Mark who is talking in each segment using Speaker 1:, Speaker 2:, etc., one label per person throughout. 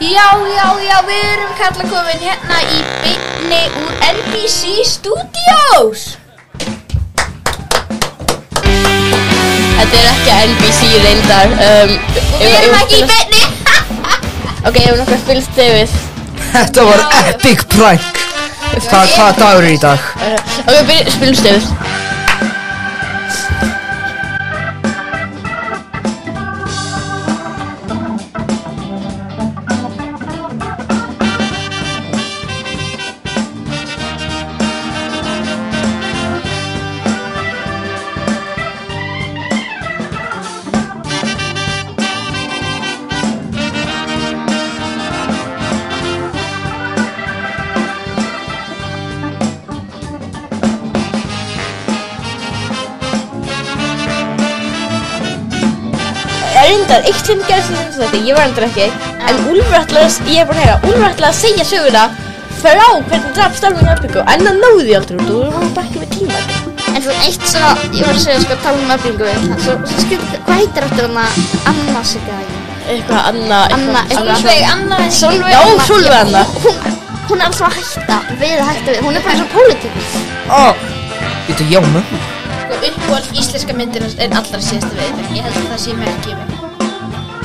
Speaker 1: Já, já, já, við erum kallakomin hérna í beinni úr NBC Studios.
Speaker 2: Þetta er ekki NBC reyndar um,
Speaker 1: Við erum ekki
Speaker 2: byrju
Speaker 1: í beinni.
Speaker 2: Ok, ef nokkuð fylgst þið við
Speaker 3: Þetta var epic prank Hvað hva dagur er í dag?
Speaker 2: uh, Ok, byrju, fylgst þið við Reyndar, eitt sem gerðist í þessum þetta, ég var reyndar ekki En Úlfur ætlaði, að- ég er búin að heyra Úlfur ætlaði að segja söguna frá hvernig draf starfum í Afríku En það náði því aldrei, út og við varum bara ekki með tíma
Speaker 1: En svo eitt svona, ég var að segja sko tala um öflingu við. Svo, svo skilur, hvað heitir eftir hana Anna sig að ég?
Speaker 2: Eitthvað annað
Speaker 1: Anna, Anna.
Speaker 2: Solveig, já, Solveig Anna.
Speaker 1: Hún, hún er alltaf að hætta við að hætta við. Hún er bara eins og pólitíkus.
Speaker 3: Þetta er jámu
Speaker 4: Sko, uppbúallt íslenska myndin er allra síðasta veiðin. Ég held að það sé mér ekki
Speaker 1: um
Speaker 4: yfir.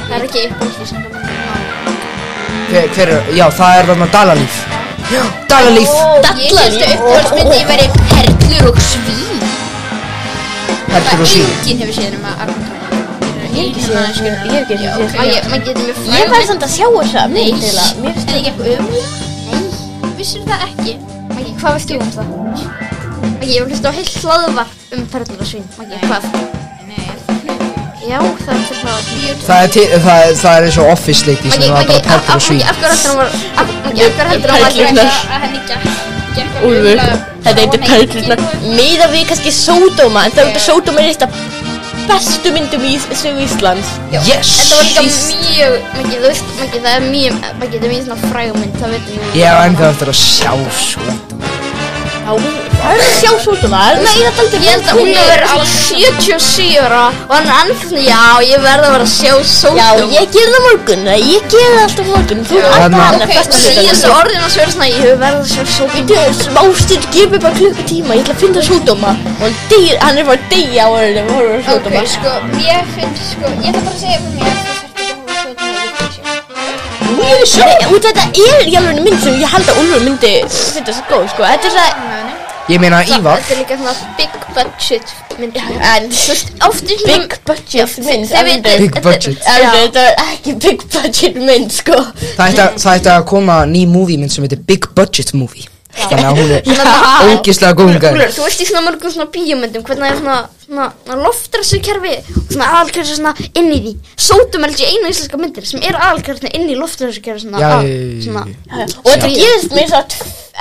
Speaker 1: Það er ekki uppbúið sem það er.
Speaker 3: hver, hver, er- Já, það er þarna dalalíf Já, dalalíf
Speaker 4: Ég held að uppbúallt myndin verið perlur og svín.
Speaker 3: Hertur og síðan
Speaker 4: Enginn hefur séð nema Arnur Tóra.
Speaker 2: Ég hef ekki séð þessa- ég hef ekki séð þessa
Speaker 4: Ég maður getur mér
Speaker 2: Ég
Speaker 4: fræðum.
Speaker 2: var samt að sjá þessa mynd eiginlega. Mér finnst
Speaker 4: Er ekki eitthvað umlega? Vissir það ekki?
Speaker 1: Maggi, hvað veist þú um það? Maggi, ég var hlust á heilt hlaðvarp um perlur og svín. Maggi, hvað?
Speaker 4: Nei, það er
Speaker 1: Já, það er til hlaðvarp.
Speaker 3: Það er, til, það, er- það er eins og office leiti sem
Speaker 1: Maggi,
Speaker 3: var
Speaker 1: Maggi,
Speaker 3: bara
Speaker 1: af
Speaker 3: perlur og
Speaker 1: Maggi,
Speaker 3: svín
Speaker 1: af hverju heldur hann var... af- Maggi, af hverju heldur hann var...
Speaker 2: Perlurnar.
Speaker 1: Perlurnar.
Speaker 4: að henni gekk.
Speaker 2: Úlfur, þetta heitir Perlurnar Meða við kannski Sódóma En það er út að Sódóma er eitt af bestu myndum í sögu Íslands
Speaker 3: Yes
Speaker 1: Þetta var líka mjög... Maggi, þú veist, Maggi, það er mjög... Maggi, þetta er mjög svona frægumynd, það veitum við.
Speaker 3: Ég hef ennþá eftir að sjá sko. svo
Speaker 2: Já, það er að sjá Sódóma Það er með eitt aldrei
Speaker 1: Ég held að hún er verið svona 77 ára og hann er ennþá, já, ég verði að vera að sjá
Speaker 2: Já,
Speaker 1: sótum.
Speaker 2: ég ger það á morgun eða Ég ger það alltaf á morgun Þú er alltaf hann
Speaker 3: Þarna-
Speaker 2: að
Speaker 1: Ok, sko,
Speaker 2: festa
Speaker 1: síðasta orðin að svöra svona, ég verði að sjá sótum.
Speaker 2: Mástinn gefur bara klukkutíma, ég ætla að finna Sódóma Og hann deyr, hann er bara að deyja á orðinu og horfa á
Speaker 4: Ok,
Speaker 2: Sódóma
Speaker 4: sko, ég finnst, sko, ég ætla bara að segja fyrir mig að þú þarf ekki að horfa á Sódóma í Lífsins.
Speaker 2: Mjög sjó Út af þetta er í alveg mynd sem ég held að Úlfur myndi Þetta svo góð, sko Þetta er það
Speaker 3: Ég meina Ívar
Speaker 1: Þetta er líka svona big budget mynd. sko.
Speaker 2: En þú veist,
Speaker 1: Oft í svona...
Speaker 2: big budget mynd
Speaker 1: þið
Speaker 2: en
Speaker 1: vitið-
Speaker 3: Big budget
Speaker 2: en þetta er ekki big budget mynd sko
Speaker 3: Það ætti að- það ætti að koma ný movie minn sem heitir Big Budget Movie Þannig að hún er ógislega góðingar
Speaker 1: Úlfur, þú veist í svona mörgum svona bíómyndum hvernig það er svona, svona, svona loftræsukerfi og svona aðalkerfi svona inn í því Sótum er ekki einu íslenska myndir sem eru aðalkerfi inn í loftræsukerfi svona,
Speaker 3: Já,
Speaker 1: að-
Speaker 3: já, já, já,
Speaker 1: svona
Speaker 3: já.
Speaker 2: og þetta gerist mér svo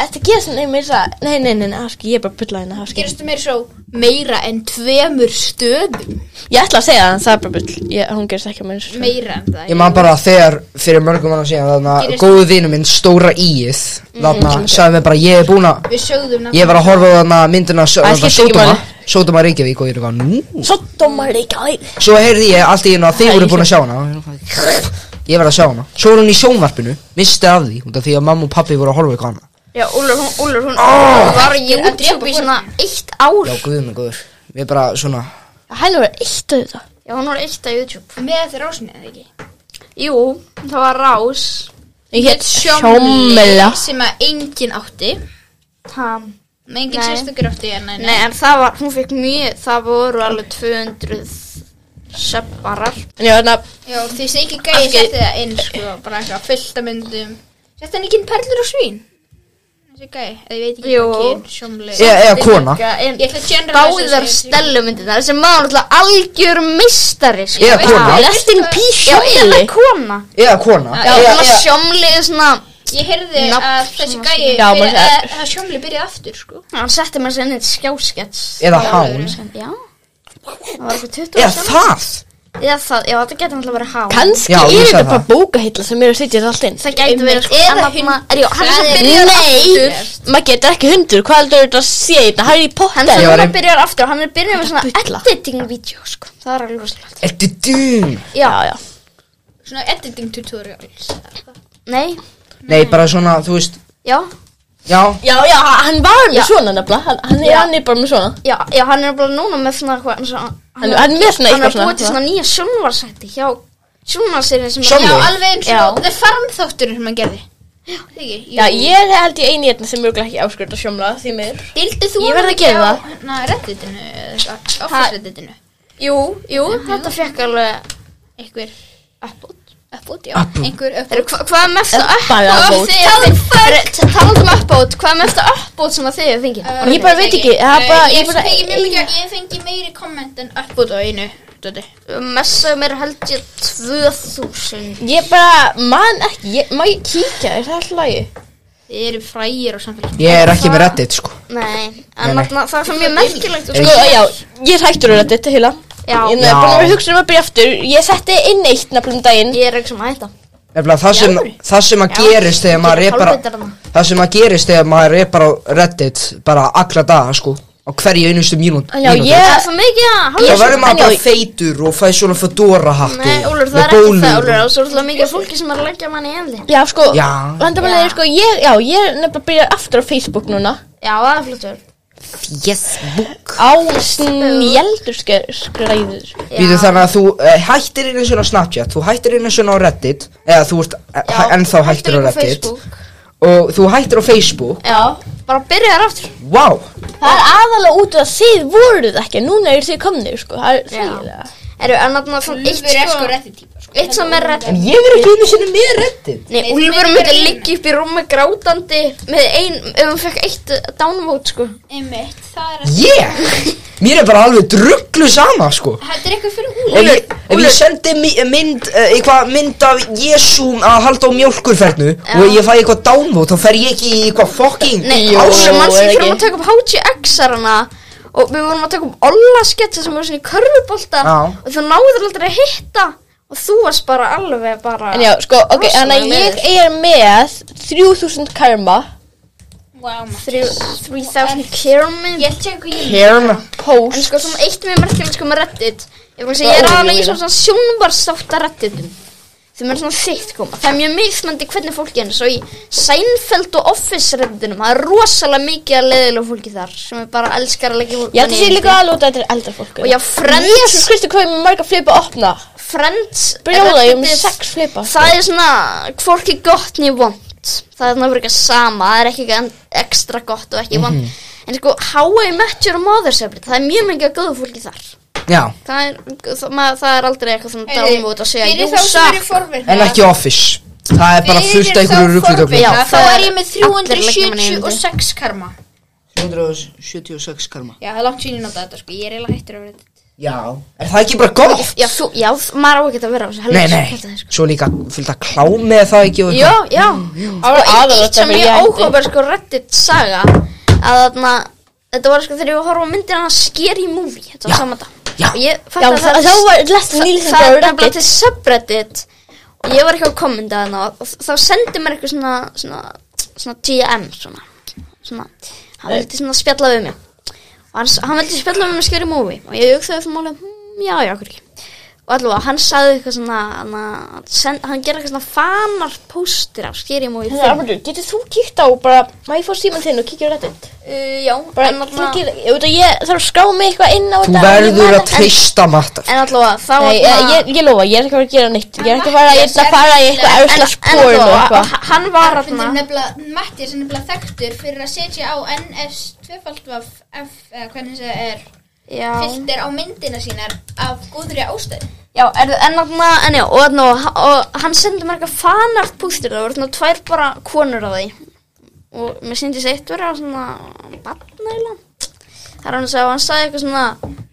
Speaker 2: þetta gerist mér svo nei, nei, nei, nei, afski, ég er bara að bulla hérna afski.
Speaker 4: Gerastu meira svo meira en tveimur stöðum?
Speaker 2: ég ætla að segja það, en það er bara bull ég, hún gerist ekki mér svo
Speaker 4: Meira en það.
Speaker 3: Ég man bara að þegar fyrir mörgum mann að segja þannig að
Speaker 4: Gerist-
Speaker 3: góðu vinnu minn stóra íið
Speaker 2: Mhm.
Speaker 3: þannig að sagði mér bara ég er búin að
Speaker 4: Við sögðum
Speaker 3: ég var að horfa á þannig að myndina
Speaker 2: Það skiptir ekki
Speaker 3: Sótoma
Speaker 2: máli.
Speaker 3: Sótoma Reykjavík og ég er eitthvað nú
Speaker 2: svo dómar líka hæð
Speaker 3: svo heyrði ég allt í einu að þið
Speaker 2: Æ,
Speaker 3: voru
Speaker 2: ég
Speaker 3: búin að sjá hana ég var að sjá hana svo er hún í sjónvarpinu misti af því út af því að mamma og pappi voru að horfa eitthvað annað
Speaker 1: Já, Úlfur, hún, Úlfur, hún oh, var í
Speaker 4: Ég er að drepa
Speaker 1: YouTube í svona eitt ár
Speaker 3: já guður mig guður við bara svona
Speaker 2: hann var eitt af þetta
Speaker 1: Já, hún var eitt á YouTube
Speaker 4: Með þetta rásinni eða ekki?
Speaker 1: Jú, það var rás
Speaker 2: ég hétt
Speaker 4: Sjómla
Speaker 2: sjómela
Speaker 4: Sem að enginn átti
Speaker 1: ha.
Speaker 4: Nei, enginn
Speaker 1: Nei.
Speaker 4: sérstakur átti en,
Speaker 1: Nei, en það var, hún fekk mjög, það voru alveg 200 sepparar
Speaker 2: já, þannig að
Speaker 4: Já, því sem ekki gæði
Speaker 2: Afskeið.
Speaker 4: setti það inn sko Bara eitthvað fullt af myndum Setti hann ekki inn perlur og svín? Þessi gæði, eða ég veit ekki
Speaker 1: Jú.
Speaker 4: hvað kyn, sjómla
Speaker 3: eða eða kona
Speaker 4: Ég ætla að generalisa
Speaker 1: Báðar stellumyndirna, þessi maður alltaf algjör mistari sko.
Speaker 3: Eða kona.
Speaker 1: Já,
Speaker 2: rest in
Speaker 1: Já,
Speaker 2: peace
Speaker 1: eða
Speaker 2: sjómeli
Speaker 1: kona
Speaker 3: eða kona
Speaker 1: Já,
Speaker 2: já,
Speaker 1: svona
Speaker 2: já.
Speaker 1: sjómlið svona
Speaker 4: Ég heyrði
Speaker 1: Nafn
Speaker 4: að
Speaker 1: sem
Speaker 4: þessi
Speaker 1: að-
Speaker 4: gæði
Speaker 2: Já, maður-
Speaker 4: byrja- að- að sjómli byrjaði aftur sko
Speaker 1: Hann setti mér sér inn eitt skjáskets
Speaker 3: eða hán
Speaker 1: Já Það var eitthvað 20
Speaker 3: eða
Speaker 1: ára saman.
Speaker 3: það
Speaker 1: Eða það, já þetta getur alltaf verið há
Speaker 2: kannski
Speaker 3: Já, ég
Speaker 2: er
Speaker 3: sagði
Speaker 2: þetta
Speaker 3: það.
Speaker 2: bara bókahilla sem er að setja þetta allt inn
Speaker 1: Það getur verið sko
Speaker 4: Eða
Speaker 1: en þarna-
Speaker 4: hund-
Speaker 1: er, já, Hann sem
Speaker 4: Það er-
Speaker 1: byrjar aftur
Speaker 2: nei, maður getur ekki hundur hvað heldur þetta að sé þetta Harry
Speaker 1: Hann
Speaker 2: Potter
Speaker 1: sem
Speaker 3: Ég var
Speaker 1: núna
Speaker 3: ein-
Speaker 1: byrjar aftur og Hann er byrjað með
Speaker 2: Þetta bulla.
Speaker 1: svona editing-vídeó sko Það er alveg rosalegt
Speaker 3: ertu dum
Speaker 2: já, já
Speaker 4: Svona editing tutorials
Speaker 1: Nei,
Speaker 3: Nei, bara svona, þú veist,
Speaker 1: já,
Speaker 3: já,
Speaker 2: Já, já, hann var með
Speaker 1: Já.
Speaker 2: svona nefnilega, hann, hann, er,
Speaker 1: Já.
Speaker 2: hann er bara með svona
Speaker 1: já, já, hann er bara núna með svona hvað, eins og hann,
Speaker 2: Hann- hann er með svona
Speaker 1: hann
Speaker 2: eitthvað
Speaker 1: er búið til
Speaker 2: svona-
Speaker 1: svona nýja sjónvarsætti hjá sjónvarserinn sem
Speaker 3: Sjónvarp?
Speaker 4: Já,
Speaker 1: Já,
Speaker 4: alveg eins
Speaker 1: Já.
Speaker 4: og The Farm þátturinn sem hann gerði. Já, ekki.
Speaker 2: Já, ég held ég eini hérna sem mjögulega ekki áskurt að sjómla því miður
Speaker 4: Dildi þú
Speaker 2: Ég verð að
Speaker 4: ekki
Speaker 2: gera
Speaker 4: á,
Speaker 2: það.
Speaker 4: hérna, redditinu eða eitthvað, office-redditinu?
Speaker 1: jú, jú,
Speaker 4: Mhm.
Speaker 1: þetta fekk alveg
Speaker 4: Einhver uppbót? Uppbót, já.
Speaker 3: Upvote.
Speaker 4: Einhver
Speaker 1: Heru,
Speaker 4: uppbót.
Speaker 1: hva, Hvað er mest að
Speaker 2: Bara upvote.
Speaker 1: Talandi um uppbót, hvað er mest að uppbót sem að þið hefur fengið?
Speaker 4: Uh,
Speaker 2: Ég bara veit ekki, það er bara-
Speaker 4: Ég
Speaker 2: ég bara-
Speaker 4: fengi mjög mikið, ég fengi meiri komment en uppbót á einu. Dóti.
Speaker 1: Messa mér held ég 2000
Speaker 2: Ég bara man ekki, ég, má ég kíkja, er það alltaf lagi?
Speaker 4: Þið eru frægir á samfélagi.
Speaker 3: ég er ekki með reddit, sko
Speaker 1: Nei,
Speaker 3: Nei,
Speaker 1: en
Speaker 3: nei.
Speaker 1: þarna- það er svo mjög merkilegt og
Speaker 3: Ég-
Speaker 2: Sko, já, ég er hættur að þetta heila
Speaker 1: Já.
Speaker 2: Ég er bara að hugsa um að byrja aftur Ég setti inn eitt nafnum daginn
Speaker 1: Ég er ekki sem að hætta
Speaker 3: Nefnilega það sem,
Speaker 2: alvöru?
Speaker 3: það sem að gerist þegar maður er
Speaker 1: gerir
Speaker 3: bara
Speaker 1: hálfvitarana.
Speaker 3: Það sem að gerist þegar maður er bara á reddit Bara alla daga sko Á hverju einustu mínút
Speaker 2: Já, ég-
Speaker 1: Það er svo mikið að
Speaker 3: Þá
Speaker 1: halda
Speaker 2: Ég-
Speaker 3: verður
Speaker 2: en já,
Speaker 3: maður bara
Speaker 2: ég-
Speaker 3: feitur og fæði svona fedora hatt
Speaker 1: Nei,
Speaker 3: og
Speaker 1: Úlur, það er ekki það, Úlur, og svo er það mikið af fólki sem er að leggja manni í endi.
Speaker 2: Já, sko,
Speaker 3: Já.
Speaker 2: vandamálið er
Speaker 1: Já.
Speaker 2: sko, ég, já, ég er nefnilega að byrja aftur á Facebook núna
Speaker 1: Já, það er flottur.
Speaker 3: Yes, book
Speaker 2: Á snjaldurskræður
Speaker 1: Já.
Speaker 3: Býtu þannig að þú eh, hættir einu svona á Snapchat Þú hættir einu svona á reddit Eða þú ert
Speaker 1: Já,
Speaker 3: eh, ennþá hættir á
Speaker 1: líka
Speaker 3: reddit
Speaker 1: Facebook.
Speaker 3: Og þú hættir á Facebook
Speaker 1: Já, bara byrjaðar aftur.
Speaker 3: Vá,
Speaker 2: Það er aðalega út af að þið voruð ekki, núna eru þið komnir, sko, það er þvílega.
Speaker 1: Eru, en náttúrulega svona eitt
Speaker 4: Úlfur er sko
Speaker 1: sko,
Speaker 4: redditýpa, sko.
Speaker 1: eitt sem er reddit.
Speaker 3: en ég er ekki einu sinni með reddit
Speaker 1: Nei,
Speaker 4: Nei,
Speaker 1: Úlfur
Speaker 4: þú
Speaker 1: myndi
Speaker 4: myndir-
Speaker 1: liggja upp í rúmi grátandi með ein, ef hann fekk eitt uh, downvote, sko.
Speaker 4: Einmitt, það er
Speaker 3: Ég? Mér er bara alveg drullu sama sko
Speaker 4: Þetta er eitthvað fyrir
Speaker 3: Ef
Speaker 4: úlur.
Speaker 3: ég, ef ég sendi mi- mynd, eh, eitthvað mynd af Jésúm að halda á mjólkurferðnu og ég fæ eitthvað downvote, þá fer ég ekki í eitthvað fucking
Speaker 1: Nei,
Speaker 2: Jú,
Speaker 1: Ása mann sem
Speaker 2: eða
Speaker 1: fyrir að
Speaker 2: ekki.
Speaker 1: taka upp HGX-arana og við vorum að taka upp Olla-sketsa sem voru svona í körfubolta
Speaker 3: Já.
Speaker 1: og þú náður aldrei að hitta og þú varst bara alveg bara...
Speaker 2: En já, sko, ok,
Speaker 1: Rosalega
Speaker 2: þannig að ég er með 3000 karma
Speaker 4: Wow, maður.
Speaker 1: 3000 kirmin
Speaker 4: Ég tjekka hvað ég
Speaker 3: Herm
Speaker 1: En
Speaker 2: post.
Speaker 1: sko, svona eitt mjög merkilegt sko með Reddit Ég, fann að segja, ég er
Speaker 2: Já,
Speaker 1: alveg í
Speaker 2: ég veit
Speaker 1: svona sjónvarstátt að Redditum Þeim er svona þitt koma Það er mjög mismandi hvernig fólki er Svo í Seinfeld og Office Redditunum Það er rosalega mikið að leiðilega fólki þar Sem er bara elskar að leggja fólk
Speaker 2: Ég ætti að sé líka alveg út að þetta er eldra fólk.
Speaker 1: Og já, Friends-
Speaker 2: Jésus Kristi, hvað er mér marga flipa að opna?
Speaker 1: Friends
Speaker 2: Brjóla, ég er með
Speaker 1: Reddit-
Speaker 2: sex flipa.
Speaker 1: Það er svona, hvorki gott niður vond Það er náttúrulega verið sama, það er ekki eitthvað ekstra gott og ekki vond
Speaker 2: Mhm.
Speaker 1: En sko, How I Met Your Mother, sefnir, það er mjög mikið að góðu fólki þar
Speaker 3: Já,
Speaker 1: Það er, það, maður, það er aldrei eitthvað svona dálmót að segja
Speaker 4: Fyrir
Speaker 1: Jú,
Speaker 4: þá sem
Speaker 1: sakna."
Speaker 4: eru forvirkna.
Speaker 3: en ekki office Það er bara
Speaker 4: Fyrir
Speaker 3: fullt
Speaker 4: þá
Speaker 3: af einhverju ruglutöflu
Speaker 1: Já,
Speaker 4: forvitna, Þá
Speaker 1: það
Speaker 4: er
Speaker 1: er
Speaker 4: ég með
Speaker 1: allir leikmenn í einu.
Speaker 4: 376 karma
Speaker 3: 176 karma
Speaker 4: Já, það er langt sín ég nota þetta sko, ég er eiginlega hættur að vera þetta
Speaker 3: Já, er það ekki bara gott?
Speaker 1: Já, þú, já, þú- maður á ekki að vera á þessu helviti
Speaker 3: Nei, nei,
Speaker 1: skjálftaði, sko.
Speaker 3: svo líka fullt af klámi eða það ekki og
Speaker 1: Já, já
Speaker 2: Það var
Speaker 1: Og
Speaker 2: aðalega
Speaker 1: eitt
Speaker 2: þetta
Speaker 1: sem ég
Speaker 2: fyrir ég hendi.
Speaker 1: áhugaverð, sko, Reddit saga Að þarna, þetta var sko þegar ég var að horfa á myndina hana Scary Movie, þetta var
Speaker 3: Já,
Speaker 1: saman dag
Speaker 3: já.
Speaker 1: Og ég fatt
Speaker 2: Já, það- þá var lestin nýlisinn
Speaker 1: það er
Speaker 2: bara
Speaker 1: nefnilega
Speaker 2: reddit.
Speaker 1: til subreddit og ég var ekki að kommenta þarna og þ- þá sendi mér eitthvað svona svona, svona GM svona, svona
Speaker 2: Eh.
Speaker 1: hann vildi svona spjalla við mig og hans, hann vildi spjalla við mig um skjöri móvi og ég hugsaði það máli hm, já, já, okkur ekki og allavega, hann sagði eitthvað svona hann, send, hann gerði eitthvað svona fanar póstir af skjöri móvi
Speaker 2: Þannig að Armandur, getur þú kíkt á bara, má ég fá síman þinn og kíkja á Reddit?
Speaker 1: Eh, já,
Speaker 2: Bara,
Speaker 1: en
Speaker 2: kíkja,
Speaker 1: allavega
Speaker 2: ég veit að ég þarf að skrá mig eitthvað inn á
Speaker 3: Þú
Speaker 2: þetta, ég man
Speaker 3: verður að
Speaker 2: ekki-
Speaker 3: treysta matta
Speaker 1: en allavega, þá
Speaker 2: Nei,
Speaker 1: þarna-
Speaker 2: ég, ég, ég lofa, ég er ekki að fara að gera neitt Ég er ekki að fara, ég er að fara í eitthvað
Speaker 1: en,
Speaker 2: erfla
Speaker 1: en
Speaker 2: spórin og
Speaker 1: allavega,
Speaker 2: eitthvað
Speaker 1: hann var
Speaker 4: Þetta er
Speaker 1: hann
Speaker 4: nefnilega, Matti er nefnilega þekktur fyrir að setja á NS tvöfaldvaf F, eða hvernig það er, filter á myndina sínar af góðri ástæð
Speaker 1: Já, er, en þarna, en já, og, þarna, og, og hann sendi mér eitthvað fanart pústur, það voru svona tvær bara konur á því og mér syndi þess eitt verið á svona barnæla Það er hann að segja, og hann sagði eitthvað svona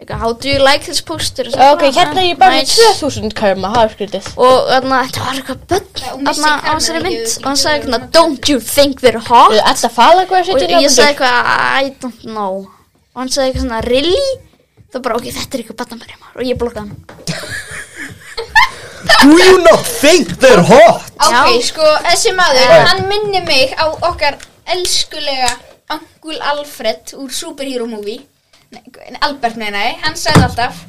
Speaker 1: eitthvað, how do you like this poster
Speaker 2: Ok, hérna er ég bara með 2000 karma, það er skrítið
Speaker 1: og þarna, þetta var
Speaker 4: Já,
Speaker 1: eitthvað börn
Speaker 4: hún vissi
Speaker 1: þarna á
Speaker 4: hvað hann
Speaker 1: þessari
Speaker 4: hafði
Speaker 1: mynd
Speaker 4: gefið
Speaker 1: og hann sagði
Speaker 4: fyrir
Speaker 1: eitthvað,
Speaker 4: hana.
Speaker 1: don't you think we're hot
Speaker 2: Þetta fala hvað er
Speaker 1: og
Speaker 2: setjum
Speaker 1: ég sagði eitthvað, I don't know og hann sagði eitthvað svona, really þá bara, ok, þetta er eitthvað barnæla og ég blokkaði hann
Speaker 3: Do you not think they're hot?
Speaker 4: Ok,
Speaker 1: Já. Eh.
Speaker 4: sko, þessi maður,
Speaker 3: Já.
Speaker 4: hann minni mig á okkar elskulega Angul Alfred úr Superhero Movie Nei, Albert meina ég, hann sagði alltaf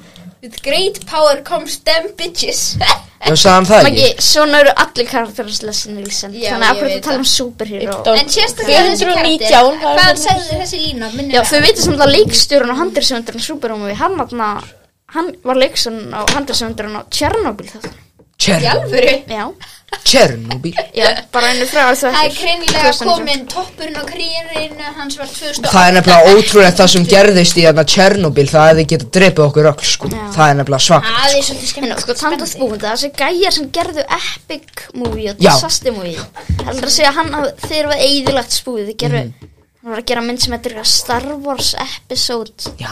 Speaker 4: With great power comes damn bitches
Speaker 3: Já, sagði hann það
Speaker 1: Maggi,
Speaker 3: ekki?
Speaker 1: svona eru allir karakteraslesin Rísend
Speaker 4: Já,
Speaker 1: Þannig að
Speaker 4: ég
Speaker 1: akkur
Speaker 4: veit
Speaker 1: að tala
Speaker 4: það.
Speaker 1: um superhero
Speaker 2: Yppta.
Speaker 4: En sérstaklega þessi
Speaker 2: 419
Speaker 4: karakter
Speaker 2: var
Speaker 4: Hvað
Speaker 2: það.
Speaker 4: sagði þessi lína? Minnir
Speaker 1: Já,
Speaker 4: mig.
Speaker 1: þau veitir samt að leikstjórun og handirsöndurinn Superhómi, hann aðna Hann var leikstjórun og handirsöndurinn á Tjernobyl þetta
Speaker 4: Í
Speaker 3: Tjern,
Speaker 4: alvöru
Speaker 1: Já,
Speaker 3: Tjernobyl
Speaker 1: já, bara einu frá þessu
Speaker 4: Það er greinilega komin toppurinn á karriérinu hans var 2000
Speaker 3: Það er nefnilega ótrúlegt það sem gerðist í þarna Tjernobyl Það hefði getað drepið okkur öll sko
Speaker 1: Já.
Speaker 3: Það er nefnilega svak
Speaker 4: Það er svolítið
Speaker 1: En
Speaker 4: skemmt
Speaker 1: sko, tamt að þú, það þessi gæjar sem gerðu epic movie og
Speaker 3: Já.
Speaker 1: disaster movie heldur að segja að hann hafði- þeir var eðilagt spúið, þeir
Speaker 3: Mhm.
Speaker 1: gerðu hann var að gera mynd sem heitir eitthvað Star Wars episode,
Speaker 3: Já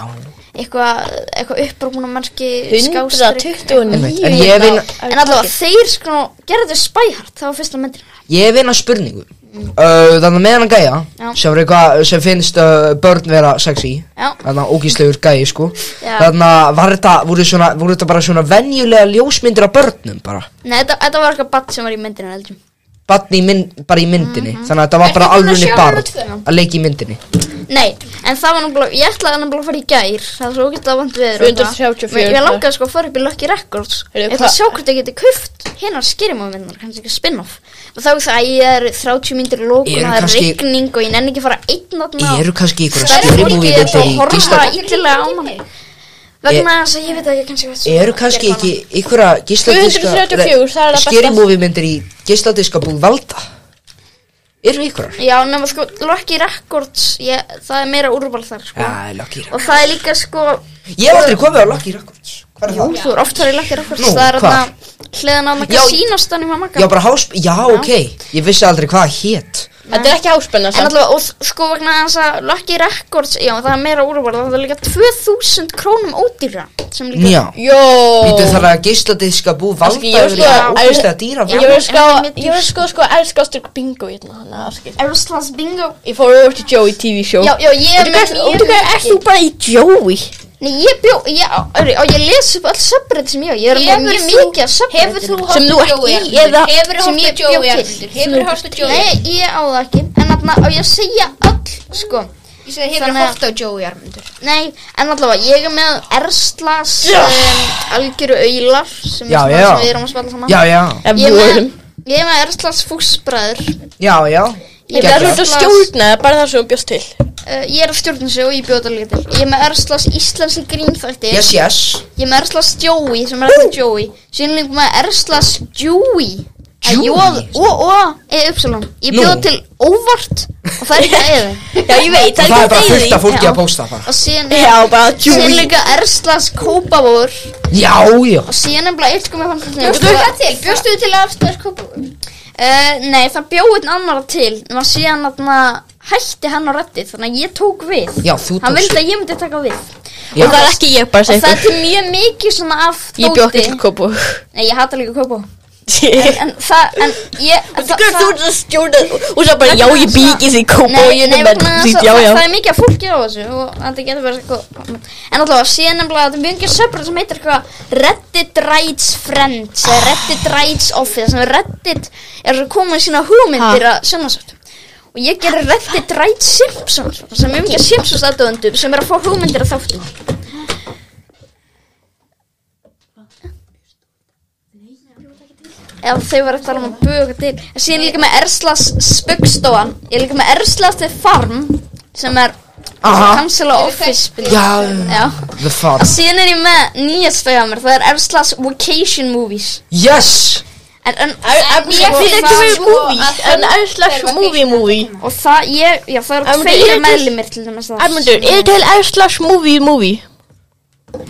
Speaker 1: eitthvað eitthvað upprúnamarki, skástrík
Speaker 2: 129
Speaker 3: En ég vinn-
Speaker 1: En allavega, þeir sko gerðu spæhart, það var fyrsta myndin
Speaker 3: Ég hef eina spurningu uh, Þannig að með hann gæja
Speaker 1: Já.
Speaker 3: sem, er eitthvað, sem finnst uh, börn vera sexy
Speaker 1: Já.
Speaker 3: Þannig að ógíslegur gæi sko
Speaker 1: Já.
Speaker 3: Þannig að var þetta, voru, svona, voru þetta bara svona venjulega ljósmyndir af börnum bara
Speaker 1: Nei, þetta, þetta var eitthvað badd sem var í myndinu heldur
Speaker 3: Barn í mynd, bara í myndinni Þannig að þetta var
Speaker 4: Ertu
Speaker 3: bara
Speaker 4: búin að sjá
Speaker 3: alvunni
Speaker 4: hana tvö?
Speaker 3: barn að leika í myndinni
Speaker 1: Nei, en það var náttúrulega, ég ætlaði náttúrulega að fara í gær Það var svo ógætlega vant við
Speaker 2: 434.
Speaker 1: Ég langaði sko að fara upp í Lucky Records
Speaker 2: Heyrðu,
Speaker 1: Ég ætla
Speaker 2: hvað-
Speaker 1: að sjá hvort ég geti kuft Hérna skýrimóvinnar, kannski ekki spin-off Og þá er það að ég er 30 myndir lókun
Speaker 3: Eru
Speaker 1: Það er
Speaker 3: kannski-
Speaker 1: rigning og ég nenni ekki að fara einn átna
Speaker 3: Eru kannski ykkur að
Speaker 1: Það er
Speaker 3: skýri
Speaker 1: fólkið
Speaker 3: múið
Speaker 1: þetta
Speaker 3: þetta
Speaker 1: og
Speaker 3: í
Speaker 1: horfa
Speaker 3: gísla
Speaker 1: Það er illilega á manni. Vegna þess að ég veit að ég kannski veit
Speaker 3: Eru kannski ekki ykkur að gísladiska
Speaker 2: 234, það er það besta.
Speaker 3: Skýri múið myndir í gísladiska búið valda Eru ykkur
Speaker 1: Já, nema sko, Lucky Records ég, Það er meira úrval þar sko.
Speaker 3: Já, Lucky Records.
Speaker 1: Og það er líka sko
Speaker 3: Ég hef aldrei komið á Lucky Records Hvað er
Speaker 1: Jú,
Speaker 3: það?
Speaker 1: þú er oft þar í lakkar okkur
Speaker 3: Nú,
Speaker 1: Það er
Speaker 3: hvar?
Speaker 1: þarna hliðan á
Speaker 3: Já,
Speaker 1: Magasínastanum á Magga
Speaker 3: Já, bara hásp... Já, ok. Ég vissi aldrei hvað það hét.
Speaker 2: Þetta er ekki háspenna
Speaker 1: En allavega, og þ- sko vegna þess að Lucky Records, já, það er meira úrvarð Það er líka 2000 krónum ódýra Sem líka
Speaker 3: Já.
Speaker 2: Jó
Speaker 3: Býtu þar að gísladiska bú valda
Speaker 2: Kannski ég
Speaker 3: yfir
Speaker 2: sko-
Speaker 3: þetta ógeðslega
Speaker 2: Já.
Speaker 3: dýra
Speaker 2: Ég verð sko,
Speaker 1: Já, en
Speaker 2: ég verð sko sko elskastur bingo hérna þannig að afskil
Speaker 1: Eroslands bingo
Speaker 2: Ég fór over til Joey TV show
Speaker 1: Já, já, ég
Speaker 2: Veitu hvað- veitu hvað, ert þú bara í Joey?
Speaker 1: Nei, ég bjó, ég, á, á, ég les upp öll subreddit sem ég á Ég er með
Speaker 4: Hefur
Speaker 1: mjög
Speaker 4: þú-
Speaker 1: mikið af
Speaker 4: Hefur
Speaker 1: subreddit
Speaker 4: þú
Speaker 2: Sem
Speaker 4: horft
Speaker 2: þú ert
Speaker 4: á Joey
Speaker 2: í,
Speaker 4: Arnhildur?
Speaker 2: eða
Speaker 4: Hefur
Speaker 1: sem
Speaker 4: þú horft á
Speaker 1: ég
Speaker 4: Joey
Speaker 1: bjó til?
Speaker 4: Arnhildur? Hefur þú horft á Joey
Speaker 1: Nei, ég á það ekki En þarna, á ég að segja öll, sko
Speaker 4: Ég segi hefur þú
Speaker 1: Þannig að-
Speaker 4: horft á Joey Arnhildur?
Speaker 1: Nei, en allavega, ég er með Erslas um, algjöru aular sem,
Speaker 3: Já,
Speaker 1: er svona
Speaker 3: já.
Speaker 1: sem við erum að spalla saman
Speaker 3: Já, já.
Speaker 2: Ef
Speaker 1: Ég
Speaker 2: við
Speaker 1: er
Speaker 2: vorum
Speaker 1: með, ég er með Erslas fúsbræður uh,
Speaker 3: Já, já.
Speaker 1: Ég
Speaker 2: Það er
Speaker 1: Geggjað.
Speaker 2: svona stjórna, það er bara það sem hún bjóst til
Speaker 1: eh, Ég er að stjórna sig og ég bjóða líka til Ég er með Erslas íslenski grínþætti
Speaker 3: Yes, yes.
Speaker 1: Ég er með Erslas Joey sem er alltaf Joey Síðan líka með Erslas Dewey
Speaker 3: Dewey?
Speaker 1: Ó, ó, e, uppsalon Ég
Speaker 3: Nú.
Speaker 1: bjóða til óvart og það er ekki að eða
Speaker 2: Já, ég veit,
Speaker 3: Og það er bara fullt af fólki
Speaker 1: Já.
Speaker 3: að pósta bara.
Speaker 1: Og síðan er
Speaker 2: Já, bara
Speaker 1: Síðan
Speaker 2: Joey
Speaker 1: líka Erslas Kópavór
Speaker 3: Já, já.
Speaker 1: Og síðan er bara eitt komið fann
Speaker 4: Bjóstu þú það til? Bjóstu þú til að afstæða kópum?
Speaker 1: Uh, nei, það bjóði einn annar til Nú að síðan aðna, hætti hann á rættið Þannig að ég tók við
Speaker 3: Já, þú
Speaker 1: Hann
Speaker 3: tókst við.
Speaker 1: vildi að ég myndi taka við
Speaker 3: Já.
Speaker 1: Og
Speaker 2: Og það er ekki ég bara að
Speaker 1: það
Speaker 2: segja
Speaker 1: er til mjög mikið svona af
Speaker 2: ykkur Ég bjóð ekki til kopu
Speaker 1: Nei, ég hata líka kópó en,
Speaker 2: Þú
Speaker 1: en það, en ég það-
Speaker 2: veist
Speaker 1: það-
Speaker 2: þú ert að stjórna Og svo bara, já, ég bík í því kopu Og
Speaker 1: Nei,
Speaker 2: ég
Speaker 1: nei,
Speaker 2: er með
Speaker 1: vegna
Speaker 2: því,
Speaker 1: þess að
Speaker 2: já,
Speaker 1: það
Speaker 2: já
Speaker 1: það er mikið af fólki á þessu og þetta getur verið eitthvað en allavega síðan nefnilega þetta er mjög mjög söpur sem heitir eitthvað Reddit Rights Friends eða Reddit Rights Office þannig að Reddit er að koma í sína hugmyndir að sjónasöfnum og ég gerir Reddit Rights Simpsons sem er mjög mjög Simpsons aðdöðundum sem er að fá hugmyndir að þáttum ef þau var að tala um að buga til en síðan líka með Erslas Spugstofan ég er líka með Erslas The Farm sem er
Speaker 3: Aha.
Speaker 1: Council of Office
Speaker 3: Já, já.
Speaker 1: Já.
Speaker 3: The fun.
Speaker 1: og síðan er ég með nýjast fæða mér það er Erslas Vacation Movies
Speaker 3: Yes.
Speaker 1: en, en,
Speaker 2: I'm
Speaker 1: ég
Speaker 2: like
Speaker 1: fyrir
Speaker 2: a
Speaker 1: ekki
Speaker 2: movie
Speaker 1: við
Speaker 2: movie An Iceland movie movie
Speaker 1: og það ég, já það eru
Speaker 2: Armundur,
Speaker 1: tveir
Speaker 2: eru til-
Speaker 1: meðlumir til dæmis það
Speaker 2: Armundur, er til Iceland movie movie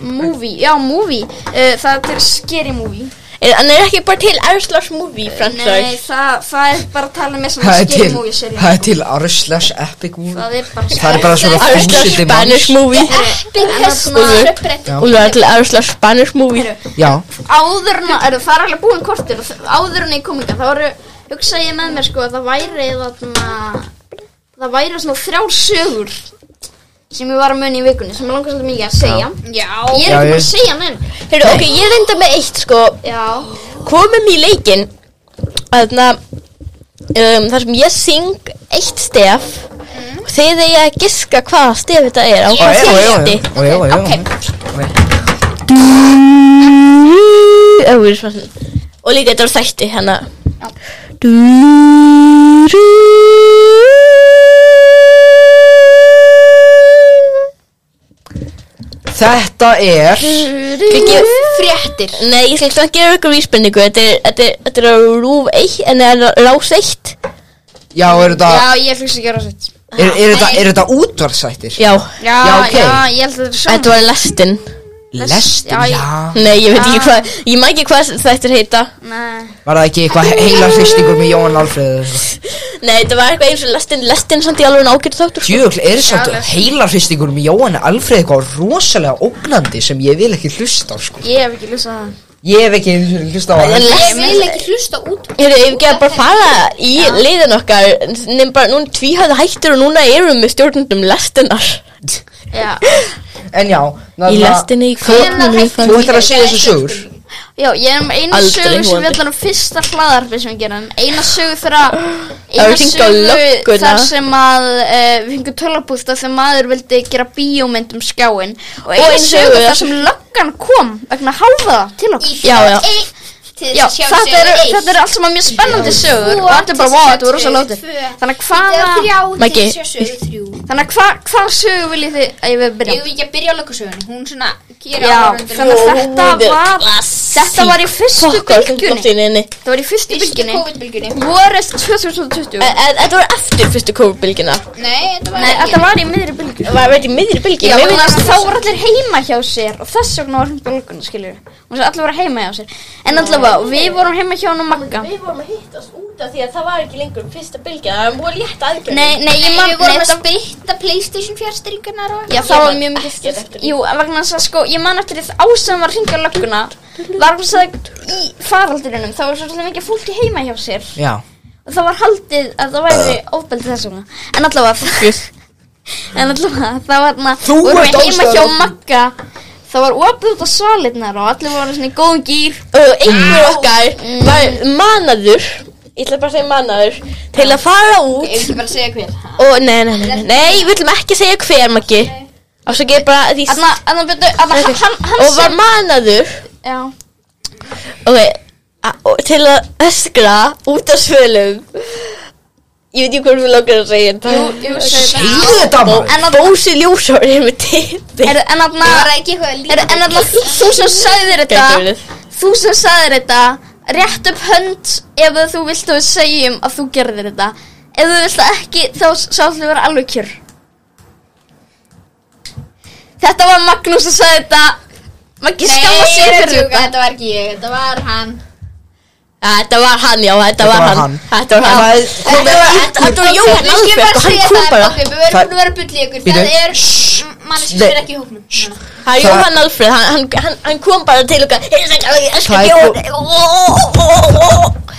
Speaker 1: movie, já movie uh, það er til Scary Movie
Speaker 2: Er- En er ekki bara til Iceland movie
Speaker 1: nei,
Speaker 2: franchise
Speaker 1: það, það er bara að tala með svona
Speaker 3: Það er
Speaker 1: Scary
Speaker 3: til,
Speaker 1: Movie serið
Speaker 3: það er til Arslash Epic Movie.
Speaker 1: það er bara
Speaker 3: Það er bara svona
Speaker 2: Iceland
Speaker 3: þúsundir manns.
Speaker 2: Spanish movie
Speaker 4: Byggjast upprætt
Speaker 3: Já.
Speaker 2: Og það er til Iceland Spanish movie
Speaker 3: Já.
Speaker 1: áður en að, er, það er alveg búin kortir og þ- áður en ég kom ekki, þá voru hugsa ég með mér sko að það væri þarna, það væri svona þrjár sögur sem ég var að muni í vikunni sem ég langar svolítið mikið að segja
Speaker 4: Já
Speaker 1: ég er
Speaker 3: Já,
Speaker 1: ekki
Speaker 3: ég-
Speaker 1: búin að segja neina
Speaker 2: Heyrðu, ok, ég reynda með eitt, sko
Speaker 1: já,
Speaker 2: Komum í leikinn Þarna um, Þar sem ég syng eitt stef
Speaker 1: Mm.
Speaker 2: Og þið eigi að giska hvaða stef þetta er Á
Speaker 3: Ó,
Speaker 2: hvað
Speaker 3: já, já, já.
Speaker 2: þétti
Speaker 3: Ó, já, já, já.
Speaker 1: Ok.
Speaker 3: Ok.
Speaker 2: Ó, við erum svo svona. Og líka þetta var þætti hérna
Speaker 1: Já.
Speaker 2: Du, du,
Speaker 3: Þetta er
Speaker 2: Ekki-
Speaker 4: Fréttir
Speaker 2: Nei, ég ætla að gefa ykkur vísbendingu Þetta er, þetta er, þetta er á rúf 1 En það er rás 1
Speaker 3: Já, er þetta
Speaker 1: Já, ég finnst ekki að rása þetta.
Speaker 3: Er, er, þetta, er þetta útvarsættir?
Speaker 2: Já,
Speaker 1: Já,
Speaker 3: Já, ok.
Speaker 1: já, ég held að þetta er svona.
Speaker 2: þetta var lestin
Speaker 3: Lestin,
Speaker 1: Já, ég-
Speaker 3: já
Speaker 2: Nei, ég veit ekki
Speaker 1: Ah.
Speaker 2: hvað Ég maður ekki hvað þetta er heita
Speaker 1: Nei.
Speaker 3: Var það ekki eitthvað he- heilar hristingur með Jóhann Alfreð eða eitthvað?
Speaker 2: Nei, þetta var eitthvað eins og lestin Lestin samt í alveg nákvæmt þáttur sko.
Speaker 3: Djögl, er samt
Speaker 1: Já, lestin.
Speaker 3: heilar hristingur með Jóhann Alfreð eitthvað rosalega ógnandi sem ég vil ekki hlusta á sko
Speaker 1: Ég hef ekki lusað það.
Speaker 3: Ég hef ekki einu sinni hlusta á
Speaker 2: En
Speaker 3: hann
Speaker 4: Ég
Speaker 2: lestin
Speaker 4: vil ekki hlusta út
Speaker 2: Ég hef ekki að bara fara í leiðin okkar Nefn bara, núna tvíhæða hættur og núna erum við stjórnundum lestinar
Speaker 1: Já,
Speaker 3: En já,
Speaker 2: Í
Speaker 3: náttúrulega-
Speaker 2: lestinni í
Speaker 4: Hvenær
Speaker 2: kvörnunum
Speaker 4: hættir-
Speaker 3: Þú ættir að segja þessu sögur
Speaker 1: já, ég er með eina
Speaker 2: Aldrei
Speaker 1: sögu sem
Speaker 2: vonandi.
Speaker 1: við allar um fyrsta hlaðarfi sem við gerum. Eina sögu þegar að,
Speaker 2: Það
Speaker 1: eina
Speaker 2: var hringt á lögguna.
Speaker 1: þar sem að uh, við fengum tölabústa þegar maður vildi gera bíómynd um skjáin. Og eina,
Speaker 2: eina
Speaker 1: sögu
Speaker 2: sögu.
Speaker 1: þar sem löggan kom vegna háfaða til okkur.
Speaker 4: Í
Speaker 2: Já, já.
Speaker 4: eitt til
Speaker 1: Já,
Speaker 4: þess að sjá
Speaker 1: þetta
Speaker 4: sögu
Speaker 1: eru
Speaker 4: eitt.
Speaker 1: þetta eru allt saman mjög spennandi sögur og þetta er bara, wow, þetta voru rosa lóti.
Speaker 4: Tvö. Þetta
Speaker 1: Þannig að
Speaker 4: er
Speaker 1: hvaða,
Speaker 4: þrjá
Speaker 2: Maggi.
Speaker 4: til þess að sjá sögu þrjú
Speaker 1: þannig að hva, hvaða sögu viljið þið að ég við byrja?
Speaker 4: Ég vil ekki að byrja á lögusögunni Hún svona gerir
Speaker 1: Já,
Speaker 4: áhorfendur-
Speaker 1: þannig að þetta
Speaker 2: Jú,
Speaker 1: var,
Speaker 2: klassík.
Speaker 1: þetta var í fyrstu bylgjunni.
Speaker 2: bylgjunni
Speaker 1: Það var í fyrstu
Speaker 4: Fyrstu
Speaker 1: bylginni
Speaker 4: COVID-bylgjunni
Speaker 1: Vorið 2020
Speaker 2: En en Eh, þetta var eftir fyrstu COVID-bylgjuna
Speaker 4: Nei, þetta var
Speaker 1: Nei, þetta var í miðri bylgu
Speaker 2: Var veit í miðri bylgi
Speaker 1: Já,
Speaker 2: Mér
Speaker 1: vegna
Speaker 2: finnst-
Speaker 1: þess að þá voru allir heima hjá sér og þess vegna var hún bylgun, skiljur Hún sagði allir voru heima hjá sér En allavega, við vorum heima hjá hún og Magga
Speaker 2: Við vorum að hittast út af því að það var ekki lengur fyrsta bylgja Það var mjög létt aðgjörð
Speaker 1: Nei, nei, ég
Speaker 4: Nei,
Speaker 1: man
Speaker 4: við vorum að
Speaker 1: þetta-
Speaker 4: spytta Playstation fjárstyringarnar og
Speaker 1: Já,
Speaker 4: eitthvað.
Speaker 1: það
Speaker 2: Ég
Speaker 1: var
Speaker 2: man
Speaker 1: mjög mikið
Speaker 2: ekkert
Speaker 1: stuð
Speaker 2: eftir því.
Speaker 1: Jú, en vegna þess að sko, ég man eftir því að ásöðum var að ringa lögguna Var hún sagði í faraldurinnum Það var svolítið mikið fólki heima hjá sér
Speaker 3: Já
Speaker 1: Og það var haldið að það væri ofbeldið þess vegna En allavega, En allavega, það var hérna
Speaker 3: Þú
Speaker 1: vorum
Speaker 3: ert
Speaker 1: við heima hjá
Speaker 3: ástæðan.
Speaker 1: Magga Það var opið út á svalirnar og allir voru svona í góðum gýr
Speaker 2: Og einhver okkar var
Speaker 1: Mm.
Speaker 2: manaður Ég ætla bara að segja manaður Til að fara
Speaker 4: Ég vil
Speaker 2: út
Speaker 4: ekki bara segja hver
Speaker 2: Og nei, nei, nei, nei, nei Við ætlum ekki að segja hver maggi Ásakið bara því
Speaker 1: Þannig að þannig byrju, þannig að hann, hann
Speaker 2: Og var manaður
Speaker 1: Já,
Speaker 2: Ok a- og Til að öskra út af svölum Ég veit ekki hvað við langar að segja en það-
Speaker 1: jú, jú, segðu það.
Speaker 3: Segðu þetta maður
Speaker 1: En að,
Speaker 2: Bósi Ljósár er með tipi
Speaker 1: er, en að,
Speaker 4: Það var ekki eitthvað að
Speaker 1: er,
Speaker 4: líka
Speaker 1: en að, þú sem
Speaker 2: Gæti
Speaker 1: sagðir þetta
Speaker 2: verið.
Speaker 1: Þú sem sagðir þetta, rétt upp hönd ef þú vilt að við segjum að þú gerðir þetta Ef þú vilt að ekki, þá sáttu vera alveg kjör Þetta var Magnús að sagði þetta Maggi skamma sér fyrir þetta
Speaker 4: þetta var ekki ég, þetta var hann
Speaker 2: Þetta var hann, já, þetta var hann Þetta var
Speaker 3: Það
Speaker 2: hann
Speaker 3: er komið
Speaker 2: var-
Speaker 3: að
Speaker 2: þetta- þetta var Jóhann
Speaker 4: Við skulum bara
Speaker 2: Alfreð og hann
Speaker 4: segja
Speaker 2: kom
Speaker 4: það,
Speaker 2: bara
Speaker 4: Bobbi, Við verðum
Speaker 3: Það-
Speaker 4: búin að vera að bulla í ykkur
Speaker 3: Bíddu.
Speaker 4: Það er mann sem
Speaker 3: Nei.
Speaker 4: er ekki í hópnum Núna.
Speaker 2: Það er Jóhann Alfred, hann, hann, hann, hann kom bara til okkar Ég skal ekki elska
Speaker 3: Það er
Speaker 2: Jón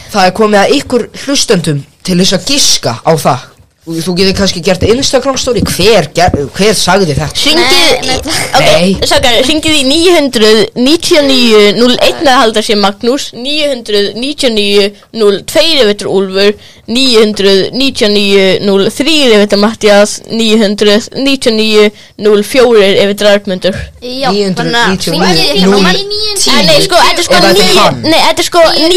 Speaker 3: Það er komið að ykkur hlustendum til þess að giska á það Þú- Þú getur kannski gert Instagram story Hver, ger, hver sagði þetta?
Speaker 1: Nei,
Speaker 2: Ringið í,
Speaker 1: nei,
Speaker 3: Nei.
Speaker 2: ok, sákar, ringið í 900 99 01 að halda sér Magnús 900 99 02 eftir Úlfur 900 99 03 eftir Mattias 900 99 04 eftir Arnmundur
Speaker 1: Já,
Speaker 2: hérna,
Speaker 3: 999
Speaker 1: hringið í
Speaker 4: númer-
Speaker 1: hann.
Speaker 2: Eh, Nei, sko, þetta er sko
Speaker 3: Eða þetta er
Speaker 2: 9
Speaker 3: hann.
Speaker 2: Nei, þetta er sko
Speaker 4: 9.05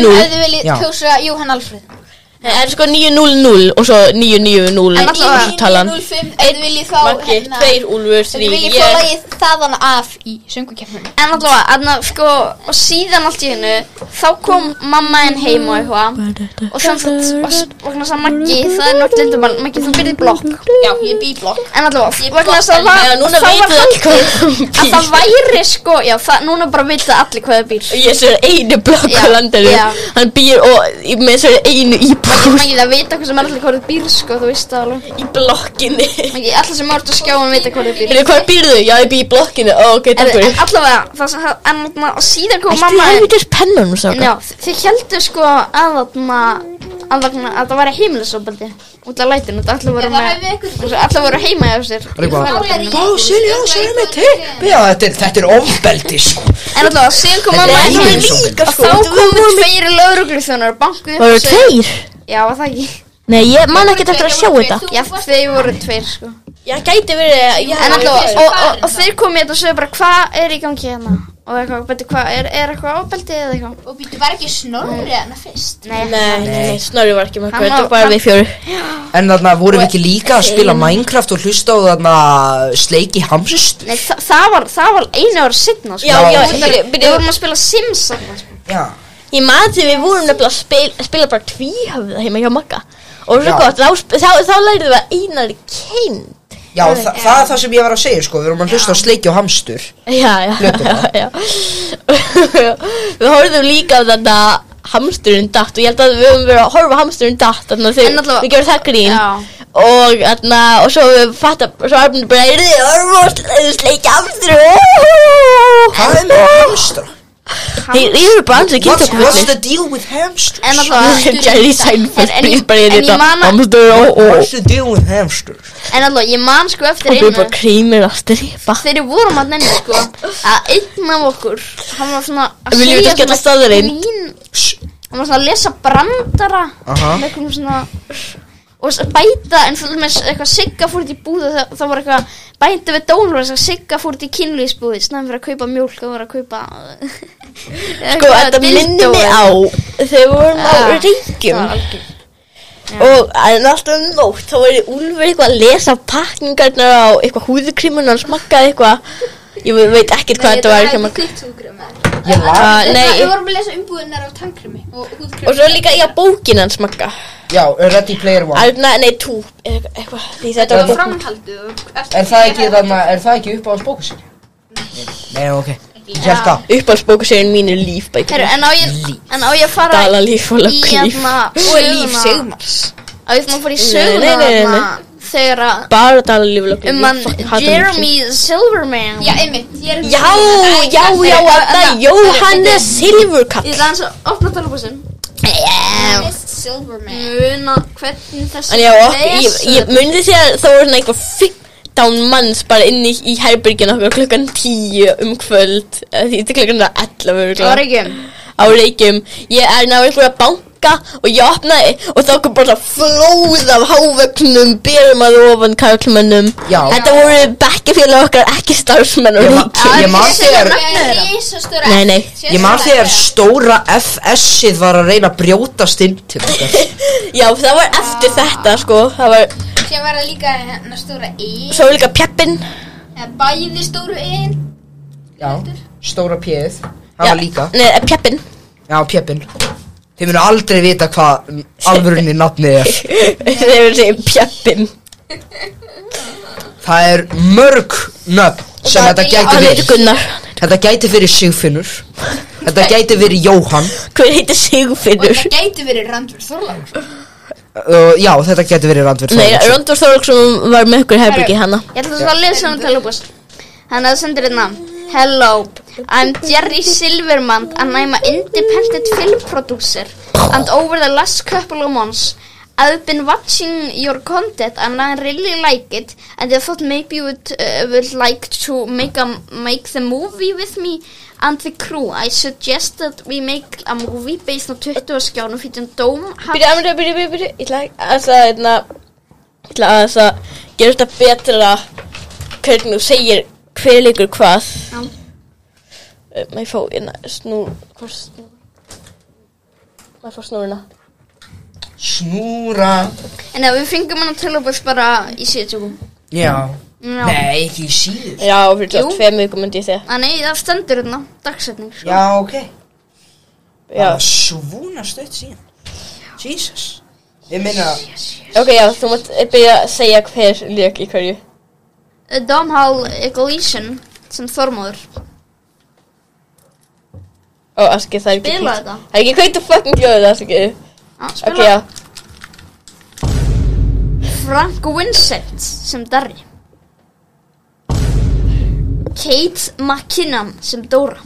Speaker 2: 900
Speaker 4: ef þið viljið
Speaker 3: Já.
Speaker 4: kjósa Jóhann Alfred
Speaker 2: Nei, Það er sko 9-0-0 og svo 9-9-0
Speaker 1: En allavega-
Speaker 2: talan
Speaker 4: 9.05 ef þið viljið fá
Speaker 2: Maggi,
Speaker 4: hérna-
Speaker 2: tveir úlfur,
Speaker 4: ef
Speaker 2: þrý
Speaker 4: þið viljið fá
Speaker 2: ég
Speaker 4: lagið þaðan af í söngukefninu
Speaker 1: En allavega, aðna, sko, og síðan allt í hennu, þá kom mamma henn heim og eitthvað Og sem sagt, og s- vegna þess að Maggi, það er nátt lindumann, Maggi, þú byrðið blokk
Speaker 4: Já, ég er bíblokk
Speaker 1: En allavega, vegna þess að það
Speaker 2: Já, núna
Speaker 1: þá
Speaker 2: veitum við
Speaker 1: var
Speaker 2: öll
Speaker 1: haldið
Speaker 2: hvað
Speaker 1: Að
Speaker 2: það
Speaker 1: það væri, sko, já, það, núna bara veit það allir hvað það býr
Speaker 2: býr Ég sér einu blokk á
Speaker 1: Já,
Speaker 2: landinu
Speaker 1: já.
Speaker 2: Hann býr og í- með sér einu íbúð
Speaker 1: Maggi, það veit hvað sem allir hvað það býr, sko, þú veist það alveg
Speaker 2: Í blokkinni
Speaker 1: Maggi, allir sem árt að skjáum veit hvað það býr
Speaker 2: Hérna, hvað býrðu? Já, ég býr í blokkinni Ó, ok,
Speaker 1: En
Speaker 2: takk
Speaker 1: en
Speaker 2: fyrir
Speaker 1: allavega, það sem, það- en allavega, og síðan kom
Speaker 2: Ætti
Speaker 1: mamma
Speaker 2: það
Speaker 1: henn
Speaker 2: hefur þess pennanum sáka
Speaker 1: Já, þið heldur sko að þarna að, þarna, að það væri heimilisofbeldi út af lætinu, þetta allir
Speaker 4: Já,
Speaker 1: voru
Speaker 4: það
Speaker 1: með
Speaker 4: hefði einhver-
Speaker 1: og svo allir voru heima hjá sér
Speaker 3: Það er eitthvað
Speaker 4: Nálæri
Speaker 3: Ó, Silja, segðu mig til Já, þetta er, þetta er ofbeldi sko
Speaker 1: en allavega, síðan kom
Speaker 3: Þetta er
Speaker 1: mamma heim
Speaker 3: heimilisofbeldi. sko.
Speaker 1: og þá komu tveir laurugluþjónar og bankuðu
Speaker 2: Það
Speaker 1: upp á
Speaker 2: eru
Speaker 1: sig.
Speaker 2: tveir
Speaker 1: Já, var það ekki
Speaker 2: Nei, ég man ekki eftir að sjá þetta
Speaker 1: Já, þeir voru tveir sko
Speaker 2: Ég gæti verið að ég
Speaker 1: En
Speaker 2: hafi-
Speaker 1: alltaf,
Speaker 4: ég-
Speaker 1: og,
Speaker 4: ég-
Speaker 1: og, og þeir komið þetta og sögðu bara hvað er í gangi hérna og eitthvað, betur hvað, er, er eitthvað ábeldi eða eitthvað
Speaker 4: Og býttu bara ekki snorrið hana fyrst.
Speaker 1: Nei,
Speaker 2: Nei, nei, snorri var ekki með
Speaker 1: Hann
Speaker 2: hvað, þetta
Speaker 1: var-
Speaker 2: var bara
Speaker 1: hann-
Speaker 2: við fjóru
Speaker 3: En þarna vorum við ekki líka að spila Minecraft og hlusta á þarna sleiki hamsust
Speaker 1: Nei þa það, var, það var einu ára signa sko.
Speaker 2: Já,
Speaker 3: Já,
Speaker 2: já,
Speaker 3: ég-
Speaker 1: Við
Speaker 2: byrju,
Speaker 1: vorum- við
Speaker 2: byrju
Speaker 1: vorum að spila Sims þarna, sko.
Speaker 3: Já
Speaker 2: Ég man því við vorum nefnilega að spila, spila bara tvíhöfða heima hjá Magga Og svo
Speaker 3: Já.
Speaker 2: gott, þá, sp- þá, þá lærðum við að einari kind
Speaker 3: Já, þa það er það sem ég var að segja sko, við vorum að hlusta á sleiki og hamstur
Speaker 2: Já, já, já,
Speaker 3: Hlutina.
Speaker 2: já Við horfðum líka á þetta hamsturinn datt og ég held að við höfum verið að horfa á hamsturinn datt þannig að
Speaker 1: En
Speaker 2: þau,
Speaker 1: allavega-
Speaker 2: við gerum það grín
Speaker 1: Já.
Speaker 2: og þannig að, og svo við fattar, svo erum við bara, er þið horfa og sl- sleikja hamsturinn
Speaker 3: Hvað er með hamstra?
Speaker 2: Þeir eru bara ansið
Speaker 3: What's, what's
Speaker 2: kynntakvöldin
Speaker 3: the deal with hamsters?
Speaker 1: En alltaf,
Speaker 2: Jerry Seinfeld
Speaker 1: En- en ég-
Speaker 2: býr bara í
Speaker 1: en ég
Speaker 2: þetta
Speaker 1: man að-
Speaker 2: hamstur og og
Speaker 3: What's the deal with hamsters?
Speaker 1: en alltaf, ég man sko eftir
Speaker 2: og við bara
Speaker 1: einu
Speaker 2: krýmir að stripa
Speaker 1: Þegar við vorum að nenni sko að einn af okkur hann var svona að
Speaker 2: Viljum við
Speaker 1: segja
Speaker 2: ekki
Speaker 1: svona
Speaker 2: alla staðreynd?
Speaker 1: grín-
Speaker 3: Shh.
Speaker 1: hann var svona að lesa brandara
Speaker 3: Aha.
Speaker 1: með einhverjum svona og s- bæta en fyrir með eitthvað sigga fór út í búðu það, það var eitthvað bæta við dólar þess að sigga fór út í kynlýsbúði snæðum fyrir að kaupa mjólk það voru að kaupa
Speaker 2: Sko, þetta minni mig á þegar við vorum á
Speaker 1: Ah,
Speaker 2: reykjum og en alltaf um nótt þá var Úlfur eitthvað að lesa pakningarnar á eitthvað húðukrímun og hann smakkaði eitthvað ég ve- veit ekkert hvað þetta var ekki að
Speaker 4: ekki
Speaker 2: smakka.
Speaker 4: þitt húðkrem eða?
Speaker 3: Ég lag
Speaker 2: Ah,
Speaker 4: Nei. Við
Speaker 2: Nei,
Speaker 4: vorum að lesa umbúðinnar á tannkremi og húðkremi.
Speaker 2: og svo líka ég að bókin hann smakka
Speaker 3: Já, Ready Player One
Speaker 2: Alna, nei, tú, eitthvað, eitthvað því þetta
Speaker 4: Þetta
Speaker 2: var
Speaker 4: var
Speaker 2: bókin
Speaker 4: framhaldið. og eftir-
Speaker 3: Er það ekki, þarna, er það ekki upp á hans bóku sér? Nei, ok Ég held það
Speaker 2: uppáhaldsbókusegin mín er líf bækur
Speaker 1: Heru, en, á ég, en á ég að fara
Speaker 2: Dala líf og
Speaker 1: í
Speaker 2: lögglíf
Speaker 1: hérna söguna- á ég að fara
Speaker 2: Nei,
Speaker 1: í söguna
Speaker 2: nei, nei, nei, nei.
Speaker 1: þarna, þegar að
Speaker 2: bara dala líf og lögglíf
Speaker 1: um hann Jeremy Silverman
Speaker 4: Já, einmitt. Ég er um
Speaker 2: Já, já, já, þetta er Jóhannes
Speaker 1: Ég
Speaker 2: Silfurkall
Speaker 1: ætla hans að opna tölvupúsin
Speaker 4: Hannes Silverman.
Speaker 2: Mm.
Speaker 1: Muna hvernig þessi
Speaker 2: En já, ok, ég, ég myndi því að það voru svona eitthvað 15 manns bara inni í herbyrgin okkur klukkan 10 um kvöld eða Því þetta er klukkan er 11
Speaker 1: Það
Speaker 2: örugglega.
Speaker 1: var ekki um
Speaker 2: á reykjum Ég er náður einhver að banka og ég opnaði og þá kom bara flóð af hávögnum, berum að ofan karlmönnum
Speaker 3: Já.
Speaker 2: Þetta voru bekkefélag okkar, ekki starfsmenn og
Speaker 3: Ég
Speaker 2: reykjum
Speaker 3: ma- Ég man þegar
Speaker 4: Rísastóra
Speaker 2: Nei, nei.
Speaker 3: Ég man þegar stóra FS-ið var að reyna að brjótast inn til okkar
Speaker 2: Já, það var eftir þetta sko, það var,
Speaker 4: Sér var það líka hérna stóra E
Speaker 2: svo var líka pjappinn
Speaker 4: eða Bæði stóru E. E-in
Speaker 3: Já, stóra P-ið Það
Speaker 2: Já,
Speaker 3: var líka
Speaker 2: Nei, pjappinn
Speaker 3: Já, P-inn Þið munu aldrei vita hvað alvörunni nafnið er
Speaker 2: Þegar við segjum pjappinn
Speaker 3: Það er mörg nöfn sem
Speaker 4: Það er
Speaker 3: þetta
Speaker 4: í
Speaker 3: gæti
Speaker 2: Hann
Speaker 3: verið
Speaker 2: heitir Gunnar
Speaker 3: Þetta gæti verið Sigfinnur Þetta gæti verið Jóhann
Speaker 2: Hver heitir
Speaker 4: Og
Speaker 2: Sigfinnur?
Speaker 4: þetta gæti verið Randfjörð Þorlákur
Speaker 3: uh, Já, þetta gæti verið Randverð
Speaker 2: Nei, Rondur Þorlóksson var með ykkur herbyggi hana
Speaker 1: Ég ætla svo að lesa um tölvupús Þannig að það sendir hérna Hello, I'm Jerry Silverman and I'm an independent film producer and over the last couple of months I've been watching your content and I really like it and I thought maybe you would, uh, would like to make a make the movie with me and the crew. I suggest that we make a movie based on 20 skjánum fyrir dóm
Speaker 2: Byrju, Amri, byrju, byrju, byrju Ég ætla að það, hérna Ég ætla að það Gerur þetta betra Hvernig þú segir hver leikur hvað
Speaker 1: Já.
Speaker 2: Eh, Má ég fá, hérna, snú Hvort snú Má ég fá snúruna
Speaker 3: Snúra
Speaker 1: En ef við fengum hann að tölvupús bara í síðutjökum
Speaker 3: Já
Speaker 1: Já.
Speaker 3: Nei, ekki í síður
Speaker 2: Já, fyrir
Speaker 1: Jú.
Speaker 2: það tveim vikum myndi ég segja
Speaker 1: Að Ah, nei, það stendur hérna, dagsetning sko.
Speaker 3: Já, ok
Speaker 2: Já,
Speaker 3: Bara Svona stött síðan Jesus Ég meina
Speaker 2: ok, já, þú mátt eh, byrja að segja hver leik í hverju
Speaker 1: Uh, Domhall Eglísson sem þormóður
Speaker 2: Ó, aski, það er ekki
Speaker 1: Spila
Speaker 2: hvítt.
Speaker 1: þetta.
Speaker 2: Það er ekki hveit að fucking hljóðið, aski
Speaker 1: ah,
Speaker 2: Ok, já
Speaker 1: spila Frank Vincent sem Darri Kate McKinnon sem Dóra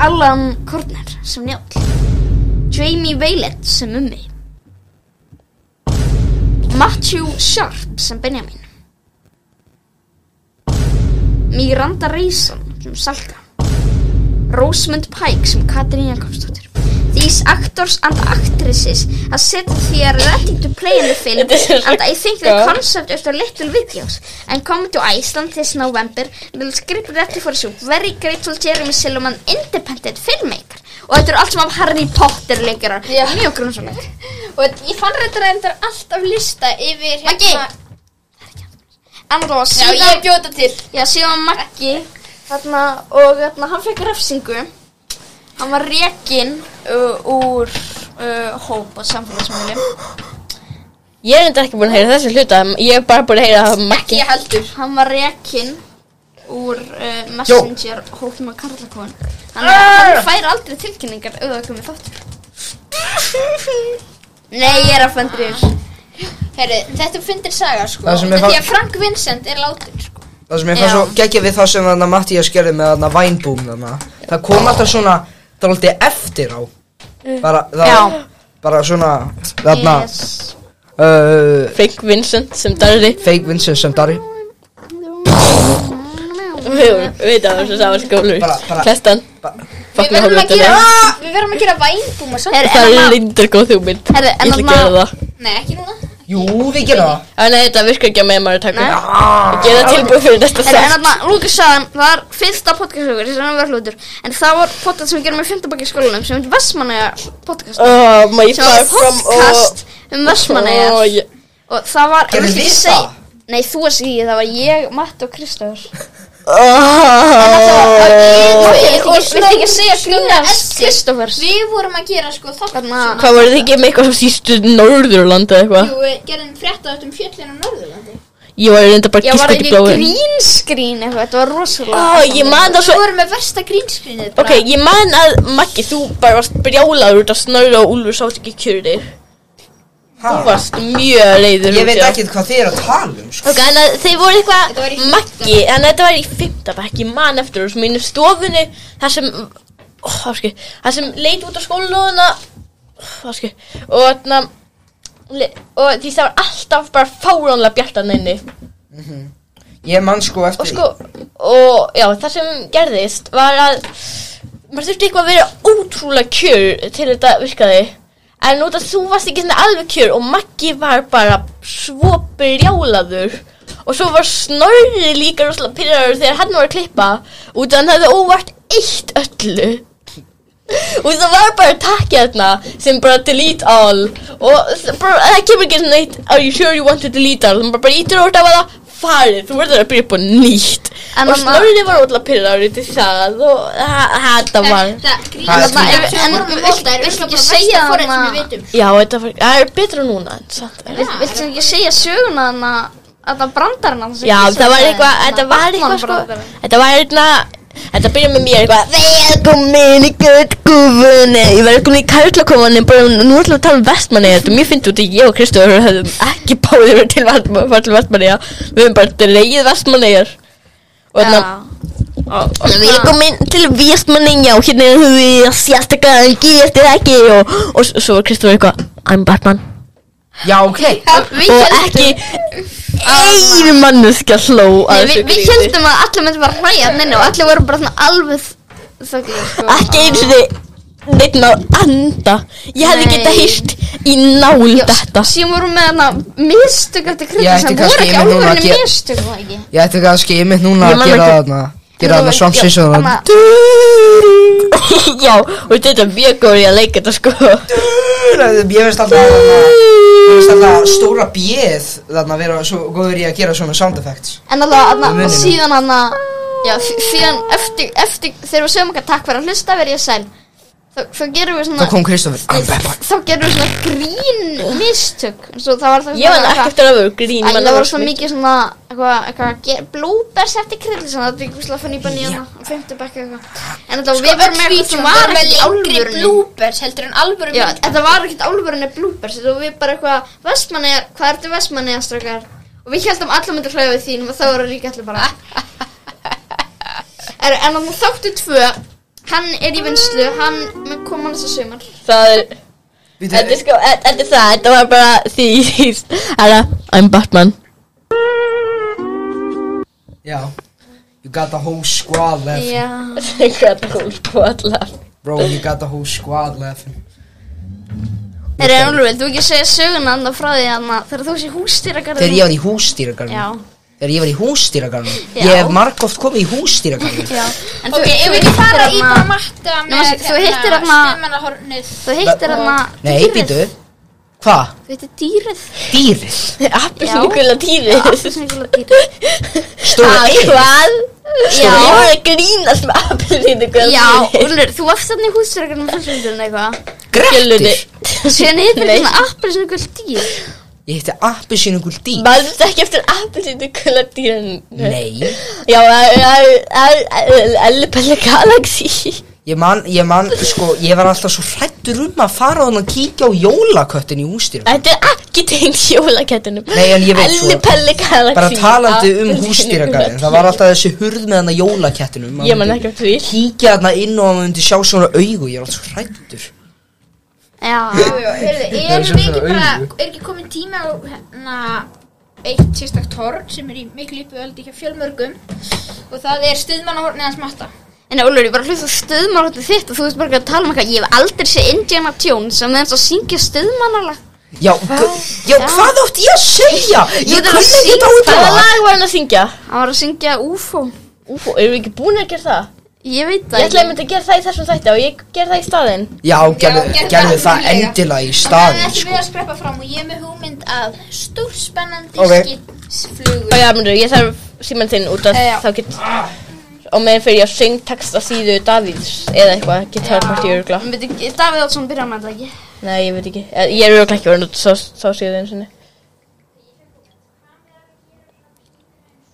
Speaker 1: Alan Kortner sem Njáll Jamie Veilet sem Ummi Matthew Sharp sem Benjamin Miranda Reison sem Salka Rósmund Pike sem Katrín Jakobsdóttir these actors and actresses that sit here ready to play in the film and I think the concept of the little videos I'm coming to Iceland this November will script ready for you very grateful Jeremy Silverman independent filmmaker og þetta eru allt sem af Harry Potter leikarar
Speaker 4: Já.
Speaker 1: mjög grunnsvöld
Speaker 4: Og ég fann reyndar reyndar alltaf lista yfir hérna-
Speaker 1: Maggi! Annarlega
Speaker 4: Já,
Speaker 1: síðan
Speaker 4: ég bjóta til
Speaker 1: Já, síðan Maggi þarna, og þarna, hann fekk refsingu hann var rekin uh, úr uh, hóp og samfélagsmiðlum
Speaker 2: Ég er enda ekki búin að heyra þessu hluta Ég er bara búin að heyra að
Speaker 4: Ekki
Speaker 2: Maggi
Speaker 4: ég heldur
Speaker 1: hann var rekin úr uh, messenger hópum að karlakon hann, hann fær aldrei tilkynningar ef það komið þáttur Nei, ég er að fendri
Speaker 4: Herri, þetta er fyndin saga sko
Speaker 3: Það sem er
Speaker 4: Því
Speaker 3: það-
Speaker 4: að Frank Vincent er látin sko
Speaker 3: Það sem ég fann
Speaker 1: Já.
Speaker 3: svo geggja við það sem þarna Mattías gerði með þarna Vænbúm þarna Það kom alltaf svona, það var alltaf eftir á Bara, það
Speaker 1: Já.
Speaker 3: Bara svona, þarna
Speaker 1: yes.
Speaker 3: uh,
Speaker 2: Frank Vincent sem darri
Speaker 3: Fake Vincent sem Dari
Speaker 2: Við veitum að það er svo sávar
Speaker 3: Bara- bara-
Speaker 2: skólur Kestan
Speaker 3: bara-
Speaker 4: Við verðum
Speaker 2: Fagnar
Speaker 4: að
Speaker 2: hálfvituna
Speaker 4: gera, við verðum að gera vænbúma samt
Speaker 1: Her,
Speaker 2: Það er lindar góð hugmynd Ég
Speaker 1: Herðu, en
Speaker 2: ætla að
Speaker 1: þarna-
Speaker 2: gera það
Speaker 4: Nei, ekki núna
Speaker 3: Jú, við gerum það
Speaker 2: En þetta virkar ekki að með maður að taka
Speaker 1: Nei.
Speaker 3: Ah.
Speaker 2: Ég gera tilbúið fyrir næsta
Speaker 1: Heyrðu, En
Speaker 2: sætt
Speaker 1: þarna, Lúkas sagðan, það var fyrsta podcastökur, þessi hann var hlutur En það var podcast sem við gerum í fymtabakki skólanum sem heitir Vestmanæja podcast
Speaker 2: Oh my
Speaker 1: Sem var
Speaker 2: far from
Speaker 1: podcast um Vestmanæja
Speaker 2: Oh, yeah.
Speaker 1: Og það var
Speaker 3: Gerðum
Speaker 1: ég vil ekki
Speaker 3: við
Speaker 1: segja-
Speaker 3: það?
Speaker 1: Nei, þú varst ekki, í því, það var ég, Matt og Kristofur
Speaker 2: Ah, oh.
Speaker 1: Viltu
Speaker 4: og
Speaker 1: ekki- viltu ekki
Speaker 4: Snorri-
Speaker 1: segja
Speaker 4: Snorri
Speaker 1: grínans
Speaker 4: Eddi.
Speaker 1: Kristofers?
Speaker 4: Við vorum að gera sko þátt
Speaker 1: Þarna-
Speaker 4: svona-
Speaker 2: Hvað voru þið ekki með eitthvað sístu Norðurland eða eitthvað?
Speaker 4: Jú, við gerðum frétt á um fjöllin á Norðurlandi
Speaker 2: Ég var reynda bara
Speaker 1: Ég var
Speaker 2: gískað í
Speaker 1: ekki
Speaker 2: blóðin
Speaker 1: grínskrín eitthvað, þetta var rosalega
Speaker 2: Ó, Oh, Ah, ég man það
Speaker 4: Við
Speaker 2: svo
Speaker 4: vorum með versta grínskrinið
Speaker 2: Ok, ég man að Maggi, þú bara varst brjálaður út af snöru og Úlfur sátt ekki kjörði þig
Speaker 3: Ha?
Speaker 2: Þú varst mjög leiður
Speaker 3: Ég
Speaker 2: út
Speaker 3: veit
Speaker 2: í það.
Speaker 3: ekki hvað þið er að tala um sko.
Speaker 2: Ok, þannig að þeir voru
Speaker 4: Þetta var í
Speaker 2: eitthvað
Speaker 4: fimmta.
Speaker 2: Maggi, en þetta var í fymta bekk, ég man eftir þessum mínu stofunni þar sem, ó, áski, þar sem leit út á skólanóðuna áski, og þarna le- og því það var alltaf bara fáránlega bjartan inni
Speaker 3: Ég man sko eftir
Speaker 2: og sko, og já, það sem gerðist var að maður þurfti eitthvað að vera ótrúlega kjör til þetta virkaði en út að þú varst ekki svona alveg kjör og Maggi var bara svo brjálaður og svo var Snorri líka rosalega pyrraður þegar hann var að klippa út að hann hefði óvart eitt öllu og það var bara takk hérna sem bara delete all og það bara, það kemur ekki svona eitt are you sure you want to delete all þannig bara bara ítur út af það farið, þú verður að byrja upp á nýtt
Speaker 1: En
Speaker 2: og
Speaker 1: mamma-
Speaker 2: snorrið var ótrúlega pyrraður út í það og þa- þetta
Speaker 1: Eh.
Speaker 2: var
Speaker 4: Þetta
Speaker 3: Það
Speaker 4: grínskrinið
Speaker 3: er skrítið.
Speaker 1: En-
Speaker 4: vorum
Speaker 1: en-
Speaker 4: með volta er
Speaker 1: viltu
Speaker 4: örugglega
Speaker 1: ekki
Speaker 4: bara
Speaker 1: segja
Speaker 4: versta forrit sem
Speaker 1: þarna-
Speaker 4: við vitum
Speaker 2: já, þetta var, það er betra núna en samt er-
Speaker 1: Vilt- Viltu ekki segja söguna þarna, þarna brandarinn hans
Speaker 2: já, það var eitthvað, þetta var eitthvað sko, þetta var eitthvað Þetta byrja með mér eitthvað Velkomin í göttgufunni Ég var komin í karlakofunni Bara nú ætlum við að tala um vestmanni Þetta er mjög fyndi út í ég og Kristofur Höfðum ekki báðið verið til vestmanni Við höfum bara dreigið vestmanni Og þannig
Speaker 1: Já.
Speaker 2: Og við erum komin til Vestmanninja og hérna erum við að sérstakka en gerist þið ekki og, og s- svo var Kristofur eitthvað I'm Batman
Speaker 3: Já, ok
Speaker 2: og ekki einu manneska hló að
Speaker 1: Nei, við,
Speaker 2: þessu
Speaker 1: við
Speaker 2: gríni.
Speaker 1: heldum að allir myndi bara hlæja neina og allir voru bara svona alveg þögglega sko.
Speaker 2: ekki einu sinni neitt ná anda ég hefði
Speaker 1: Nei.
Speaker 2: geta hýrt í nál þetta
Speaker 1: Síðan vorum við hana mistök eftir
Speaker 3: Ég
Speaker 1: krydda
Speaker 3: ætti
Speaker 1: sem
Speaker 3: kannski
Speaker 1: voru ekki
Speaker 3: einmitt núna að
Speaker 1: alveg
Speaker 3: gera-
Speaker 1: mistök var það ekki
Speaker 3: Ég ætti kannski einmitt núna
Speaker 2: Ég
Speaker 3: að
Speaker 2: man
Speaker 3: gera
Speaker 2: ekki-
Speaker 3: þarna Gera þarna
Speaker 1: Já,
Speaker 3: svansins og þarna
Speaker 1: þarna-
Speaker 2: já og þetta er mjög góður í að leika þetta sko
Speaker 3: Ég veist alltaf þarna Ég veist alltaf stóra bjöð Þarna vera svo góður í að gera svona sound effects
Speaker 1: En alveg hana,
Speaker 3: Við
Speaker 1: og
Speaker 3: munum.
Speaker 1: síðan hana Já, síðan eftir, eftir þegar við sögum okkar takk fyrir að hlusta verið ég sæl þá, þá gerum við
Speaker 3: Þá
Speaker 1: svona
Speaker 3: kom Kristoffer I'm Batman
Speaker 1: þá gerum við svona grín mistök svo það var það
Speaker 2: ég var ekki eftir að vera
Speaker 1: Æ,
Speaker 2: grín
Speaker 1: það
Speaker 2: mann,
Speaker 1: var
Speaker 2: var
Speaker 1: svo
Speaker 2: mikið-
Speaker 1: mikið svona eitthvað, eitthvað, blúbers eftir kryddi svona, þetta er eitthvað slá fann í banni hana, á fymtu bekki eitthvað. En
Speaker 4: Sko,
Speaker 1: þetta Sko, við varum með eitthvað sem var
Speaker 4: með
Speaker 1: ekkert í
Speaker 4: lengri
Speaker 1: álfurinu.
Speaker 4: blúbers heldur en alvöru
Speaker 1: Já,
Speaker 4: mynd
Speaker 1: þetta var ekkert álfurinu blúbers, þetta var við bara eitthvað, vestmanniðar, hvað ertu vestmanniðar, strákar? Og við heldum allar myndir hlæða við þínum og þá voru líka allir bara. er, en á þáttu tvö, hann er í vinslu, hann mun koma næsta sumar.
Speaker 2: það er
Speaker 3: Bíddu,
Speaker 2: Þetta er sko, þetta er það, þetta var bara því Þetta, I'm Batman
Speaker 3: Já You got the whole squad left
Speaker 1: Já,
Speaker 2: Hvað er hún sko allar
Speaker 5: Bro, you got the whole squad laughing.
Speaker 1: Herri, Úlfur, vilt þú ekki segja söguna andan frá því að þegar þú sé
Speaker 3: Þegar ég
Speaker 1: hústýragarðin
Speaker 3: var í hústýragarðinu
Speaker 1: Já,
Speaker 3: Þegar ég var í hústýragarðinu
Speaker 1: Já.
Speaker 3: Ég hef margóft komið í hústýragarðinu
Speaker 1: já En þú,
Speaker 4: Ok, ef
Speaker 1: þú
Speaker 4: við ekki
Speaker 1: hittir
Speaker 4: fara í bara
Speaker 1: hana
Speaker 4: matta
Speaker 1: Nema,
Speaker 4: með
Speaker 1: þú hittir
Speaker 4: hérna
Speaker 1: þarna-
Speaker 4: stemmennahornið
Speaker 1: Þú hittir hana
Speaker 3: Nei, býtu Hva?
Speaker 1: Þú hittir dýrið
Speaker 3: Dýrið?
Speaker 2: Appisnugula dýrið
Speaker 1: Appelsínugula dýrið
Speaker 3: Stóra
Speaker 2: Að
Speaker 3: eir?
Speaker 2: Hvað?
Speaker 1: Já.
Speaker 2: Ég voru að grínast með appisnugula
Speaker 1: Já, Úlfur, þú varst þarna í hústýragarðinu með fjölskyldunni eitthvað
Speaker 3: Grettir?
Speaker 1: Síðan hittir
Speaker 2: Nei.
Speaker 1: hana appelsínugul dýr
Speaker 3: Ég hitti appi dýr
Speaker 2: Maður þetta ekki eftir appisnugula dýrinu
Speaker 3: Nei
Speaker 2: Já, það er- það er Ellipelli Galaxy
Speaker 3: Ég man, ég man, sko, ég var alltaf svo hrættur um að fara þannig að kíkja á jólaköttin í hústýragarðinu
Speaker 2: Þetta er ekki tengt jólakettinum
Speaker 3: Nei, en ég veit svo-
Speaker 2: Ellipelli Galaxy
Speaker 3: Bara talandi um
Speaker 2: Appisnugula
Speaker 3: hústýragarðin Það var alltaf þessi hurð með hana jólakettinum
Speaker 2: Ég man ekki eftir því
Speaker 3: Kíkja þarna inn og maður myndi sjá svona augu Ég er alltaf svo hrættur
Speaker 1: Já,
Speaker 4: Heyrðu,
Speaker 5: Það er
Speaker 4: erum
Speaker 5: svo
Speaker 4: við ekki
Speaker 5: fyrir
Speaker 4: bara,
Speaker 5: augu.
Speaker 4: er ekki komin tíma á hérna eitt sérstak torn sem er í miklu íbjöld ekki fjölmörgum og það er stuðmannahornið hans matta
Speaker 1: en Úlfur, ég bara hlusta stöðmálhóttu þitt og þú veist bara ekki að tala um eitthvað Ég hef aldrei séð Indiana Jones sem þeim svo syngja stöðmánalag
Speaker 3: Já, hva? já,
Speaker 1: Já.
Speaker 3: hvað átti ég að segja? Ég
Speaker 1: Ég þarf að
Speaker 3: kunni ekki
Speaker 1: syngja.
Speaker 3: þetta út
Speaker 2: Hvaða
Speaker 3: af það
Speaker 2: lag var hann að syngja?
Speaker 1: Hann var að syngja UFO
Speaker 2: Úfó, erum við ekki búin að gera það?
Speaker 1: Ég veit það
Speaker 2: Ég ætlaði að mynda að gera það í þessum þætti og ég gera það í staðinn
Speaker 3: Já, gerðu,
Speaker 4: Já, gerðu
Speaker 3: gerðu
Speaker 4: það
Speaker 3: það
Speaker 4: endilega.
Speaker 3: endilega í
Speaker 4: Það
Speaker 3: staðinn
Speaker 4: er
Speaker 3: sko.
Speaker 4: við að skreppa fram og ég er með hugmynd að stórspennandi
Speaker 3: Ok.
Speaker 4: okay. skipsflugur
Speaker 2: Og já, myndu, ég þarf síman þinn út að
Speaker 4: Eh, já.
Speaker 2: þá get Og meðan fyrir ég að syng texta síðu Davíðs eða eitthvað, gitarparti örgla
Speaker 1: Veitu, Davíð Oddsson byrja með þetta ekki
Speaker 2: Nei, ég veit ekki, Eh, ég er örgla ekki verið út þá síðu eins og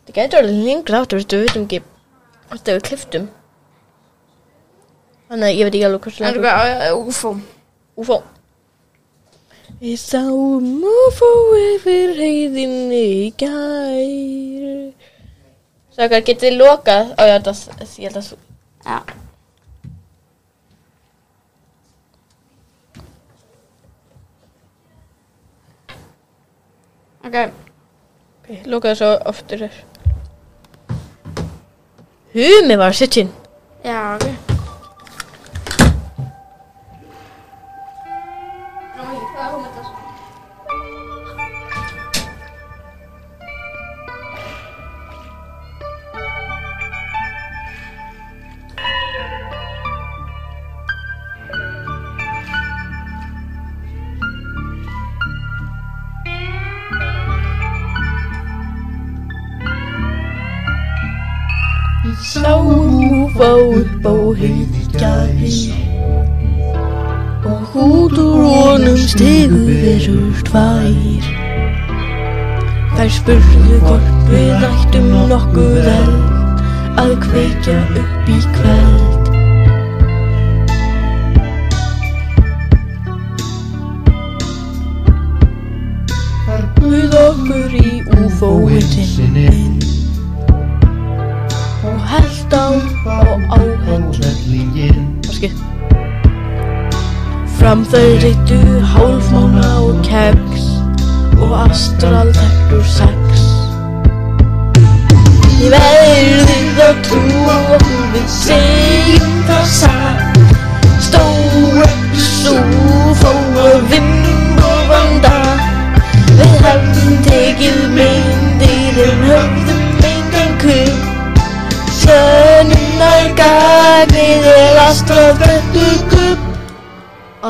Speaker 2: Það gæti orðið lengra áttur, veistu, við veitum ekki Þetta við kliftum Þannig að ég veit ekki alveg hversu
Speaker 1: En
Speaker 2: langur-
Speaker 1: eitthvað, uh, UFO
Speaker 2: UFO Við sáum UFO yfir heiðinni í gær Sakar, getið þið lokað? Á, ég held að, ég held að þú
Speaker 1: Já Ok,
Speaker 2: ok, Lokaðu svo oftur þér Humi var sittinn
Speaker 1: já, ok
Speaker 2: Sáum UFO upp á heiði í gær Og út úr honum stegu verur tvær Þær spurðu hvort við ættum nokkuð eld Að kveikja upp í kveld Þar buð okkur í UFO-inn inn Og held á og áhendlingin Morski Fram þau reyttu hálfmána og kegs Og astral tektur sex Ég verði að trúa okkur við segjum það satt Stóra sú fóa vind og vanda Við hefðum tekið myndir en höfðum engan kvip Sönnar gagnið er astral tertugup